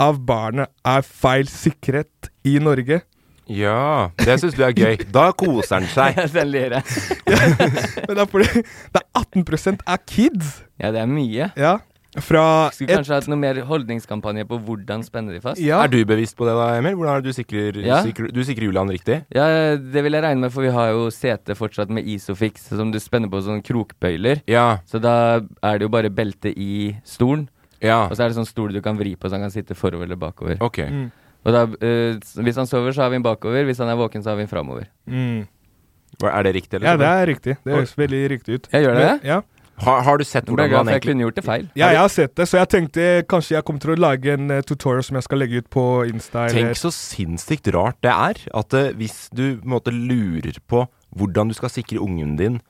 Speaker 2: av barnet er feil sikret i Norge.
Speaker 5: Ja, det syns du er gøy. Da koser han seg.
Speaker 3: Den ler jeg.
Speaker 2: Men det er fordi det er 18 er kids.
Speaker 3: Ja, det er mye.
Speaker 2: Ja. Fra
Speaker 3: Skulle kanskje hatt noe mer holdningskampanje på hvordan spenne de fast.
Speaker 5: Er du bevisst på det da, Emil? Hvordan er det du sikrer,
Speaker 3: Ja.
Speaker 5: sikrer, du sikrer Julian riktig?
Speaker 3: Ja, det vil jeg regne med, for vi har jo sete fortsatt med Isofix som du spenner på sånne krokbøyler. Så da er det jo bare belte i stolen.
Speaker 5: Ja.
Speaker 3: Og så er det sånn stol du kan vri på, så han kan sitte forover eller bakover.
Speaker 5: Altså, Ok.
Speaker 2: Mm.
Speaker 3: Og da, eh, s- hvis han sover, så har vi han bakover. Hvis han er våken, så har vi han framover.
Speaker 2: Mm.
Speaker 5: Hva- Er det riktig?
Speaker 2: Ja, det er riktig. Det høres veldig riktig ut.
Speaker 3: Jeg gjør det?
Speaker 2: Men- Ja.
Speaker 5: sånn? Har, har du sett
Speaker 3: Nå ble
Speaker 5: hvordan
Speaker 3: jeg glad,
Speaker 5: han
Speaker 3: for jeg
Speaker 5: egentlig
Speaker 3: kunne gjort det feil.
Speaker 2: Ja, jeg har sett det, så jeg tenkte kanskje jeg kommer til å lage en eh, tutorial som jeg skal legge ut på Insta. eller-
Speaker 5: Tenk så sinnssykt rart det er at eh, hvis du på en måte lurer på hvordan du skal sikre ungen din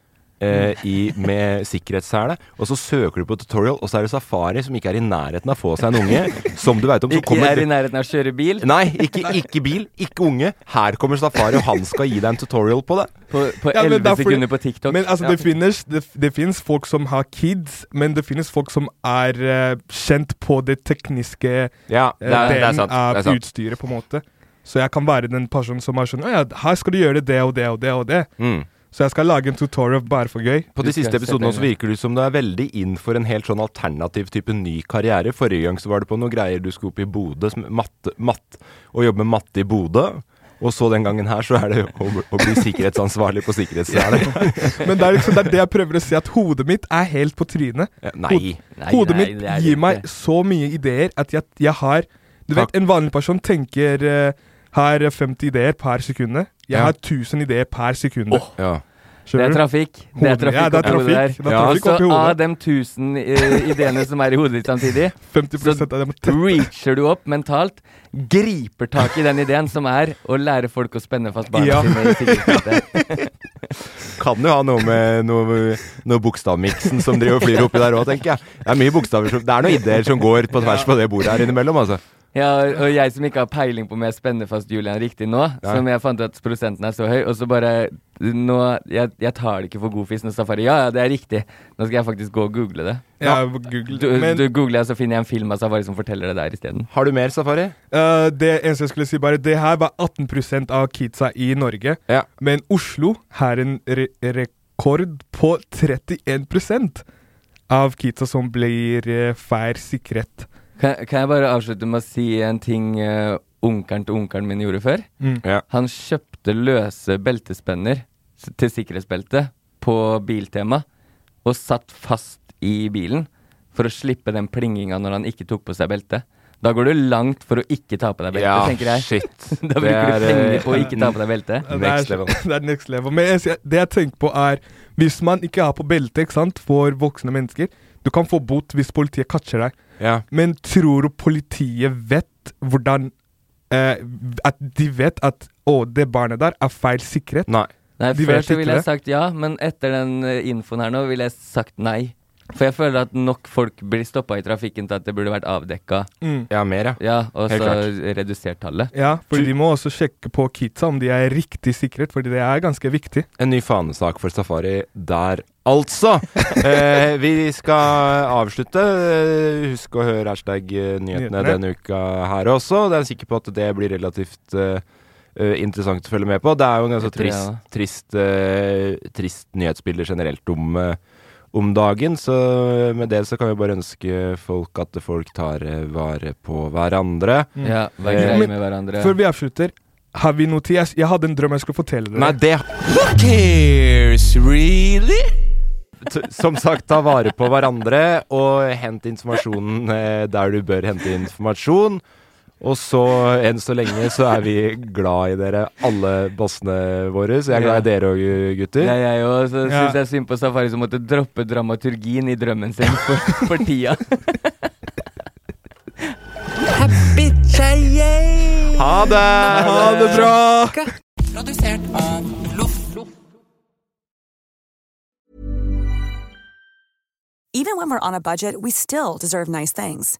Speaker 5: eh, i, med sikkerhetssele, og så søker du på tutorial, og så er det Safari som ikke er i nærheten av å få seg en unge, som du veit om. Så
Speaker 3: Ikke er i nærheten av å kjøre bil.
Speaker 5: Nei, ikke, ikke bil, ikke unge. Her kommer Safari, og han skal gi deg en tutorial på det.
Speaker 3: På,
Speaker 2: Ja, men det er fordi-
Speaker 3: TikTok.
Speaker 2: Men altså,
Speaker 3: Ja.
Speaker 2: det, finnes, det, det finnes folk som har kids, men det finnes folk som er eh, kjent på det tekniske
Speaker 5: Ja,
Speaker 2: eh,
Speaker 5: det er- det er
Speaker 2: delen
Speaker 5: sant,
Speaker 2: av
Speaker 5: det er sant.
Speaker 2: utstyret, på en måte. Så jeg kan være den personen som er sånn Å ja, her skal du gjøre det og det og det og det.
Speaker 5: Mm.
Speaker 2: Så jeg skal lage en tutorial bare for gøy.
Speaker 5: På de siste episodene også virker du som du er veldig inn for en helt sånn alternativ type ny karriere. Forrige gang så var det på noen greier du skulle opp i Bodø, som matte, matt, og jobbe med matte i Bodø. Og så den gangen her, så er det å, å bli sikkerhetsansvarlig på sikkerhetssele.
Speaker 2: Men det er liksom det, er det jeg prøver å si, at hodet mitt er helt på trynet.
Speaker 5: Ja, nei.
Speaker 2: Hod-
Speaker 5: Nei,
Speaker 2: hodet
Speaker 5: nei,
Speaker 2: mitt
Speaker 5: det er det
Speaker 2: gir
Speaker 5: ikke.
Speaker 2: meg så mye ideer at jeg, jeg har Du vet, en vanlig person tenker eh, har 50 ideer per sekund. Jeg
Speaker 5: Ja.
Speaker 2: har 1000 ideer per sekund.
Speaker 5: Ja.
Speaker 3: Det er trafikk. Det er
Speaker 2: Hodet-
Speaker 3: trafikk
Speaker 2: ja, det er
Speaker 3: oppi hodet
Speaker 2: trafikk.
Speaker 3: der.
Speaker 2: Det er trafikk oppi
Speaker 3: Så
Speaker 2: hodet.
Speaker 3: av de 1000 eh, ideene som er i hodet ditt samtidig, så reacher du opp mentalt, griper tak i den ideen som er å lære folk å spenne fast barna
Speaker 5: Ja.
Speaker 3: sine i sikkerhetsbeltet.
Speaker 5: Kan jo ha noe med noe, noe bokstavmiksen som driver og flyr oppi der òg, tenker jeg. Det er mye bokstaver som Det er noen ideer som går på tvers på det bordet her innimellom, altså.
Speaker 3: Ja, og jeg som ikke har peiling på om jeg spenner fast Julian riktig nå,
Speaker 5: Nei.
Speaker 3: som jeg fant ut at prosenten er så høy, og så bare nå, jeg, jeg tar det ikke for god fisk når Safari Ja, ja, det er riktig. Nå skal jeg faktisk gå og google det.
Speaker 2: Ja, google det,
Speaker 3: du,
Speaker 2: men-
Speaker 3: du googler jeg, så finner jeg en film av Safari som forteller det der isteden.
Speaker 5: Har du mer safari?
Speaker 2: Eh, det eneste jeg skulle si bare Det her var 18 av kidsa i Norge. Men Oslo har en re rekord på 31 av kidsa som blir eh, feil sikret.
Speaker 3: Kan, kan jeg bare avslutte med å si en ting uh, onkelen til onkelen min gjorde før?
Speaker 2: Mm.
Speaker 5: Ja.
Speaker 3: Han kjøpte løse beltespenner s- til sikkerhetsbelte på Biltema og satt fast i bilen for å slippe den plinginga når han ikke tok på seg beltet. Da går du langt for å ikke ta på deg beltet,
Speaker 5: Ja,
Speaker 3: tenker jeg.
Speaker 5: shit.
Speaker 3: da
Speaker 5: Det
Speaker 3: bruker
Speaker 5: er,
Speaker 3: du
Speaker 5: eh,
Speaker 3: penger på å ikke ta på deg beltet.
Speaker 2: Ja, det er- Det er next level. Men jeg, sier- det jeg tenker på er Hvis man ikke har på belte ikke sant, for voksne mennesker Du kan få bot hvis politiet catcher deg.
Speaker 5: Ja.
Speaker 2: Men tror du politiet vet hvordan eh, At de vet at å, det barnet der er feil sikret?
Speaker 5: Nei.
Speaker 3: Nei,
Speaker 2: de
Speaker 3: før
Speaker 2: vet
Speaker 3: så
Speaker 2: ikke
Speaker 3: ville jeg
Speaker 2: det.
Speaker 3: sagt ja, men etter den eh, infoen her nå ville jeg sagt nei. For jeg føler at nok folk blir stoppa i trafikken til at det burde vært avdekka.
Speaker 2: Mm.
Speaker 5: Ja, mer, ja.
Speaker 3: Ja, og
Speaker 5: Helt
Speaker 3: så
Speaker 5: klart.
Speaker 3: redusert tallet.
Speaker 2: Ja, for de må også sjekke på kidsa om de er riktig sikret, fordi det er ganske viktig.
Speaker 5: En ny fanesak for safari der, altså! Eh, vi skal avslutte. Eh, Husk å høre hashtag eh, nyhetene
Speaker 2: Nyhetene.
Speaker 5: denne uka her også. Det er jeg sikker på at det blir relativt eh, eh, interessant å følge med på. Det er jo en ganske
Speaker 3: tror jeg
Speaker 5: trist, trist, eh, trist nyhetsbilde generelt om, eh, om dagen. Så eh, med det så kan vi bare ønske folk at folk tar eh, vare på hverandre.
Speaker 3: Mm. Ja, vær
Speaker 5: Eh,
Speaker 3: grei
Speaker 2: Men
Speaker 3: med hverandre.
Speaker 2: Før vi avslutter, har vi noe tid? Jeg, s- jeg hadde en drøm jeg skulle fortelle dere.
Speaker 5: Nei, det Who cares, really? Som sagt, ta vare på hverandre, og hent informasjonen eh, der du bør hente informasjon. Og så, enn så lenge, så er vi glad i dere, alle bossene våre. Så jeg er glad i dere òg, gutter.
Speaker 3: Ja, jeg òg. Så
Speaker 5: Ja.
Speaker 3: syns jeg synd på Safari som måtte droppe dramaturgien i drømmen sin for, for tida.
Speaker 5: Ha det!
Speaker 2: Ha det bra!
Speaker 10: Produsert av Loff.
Speaker 3: Even when we're on a budget, we still deserve nice things.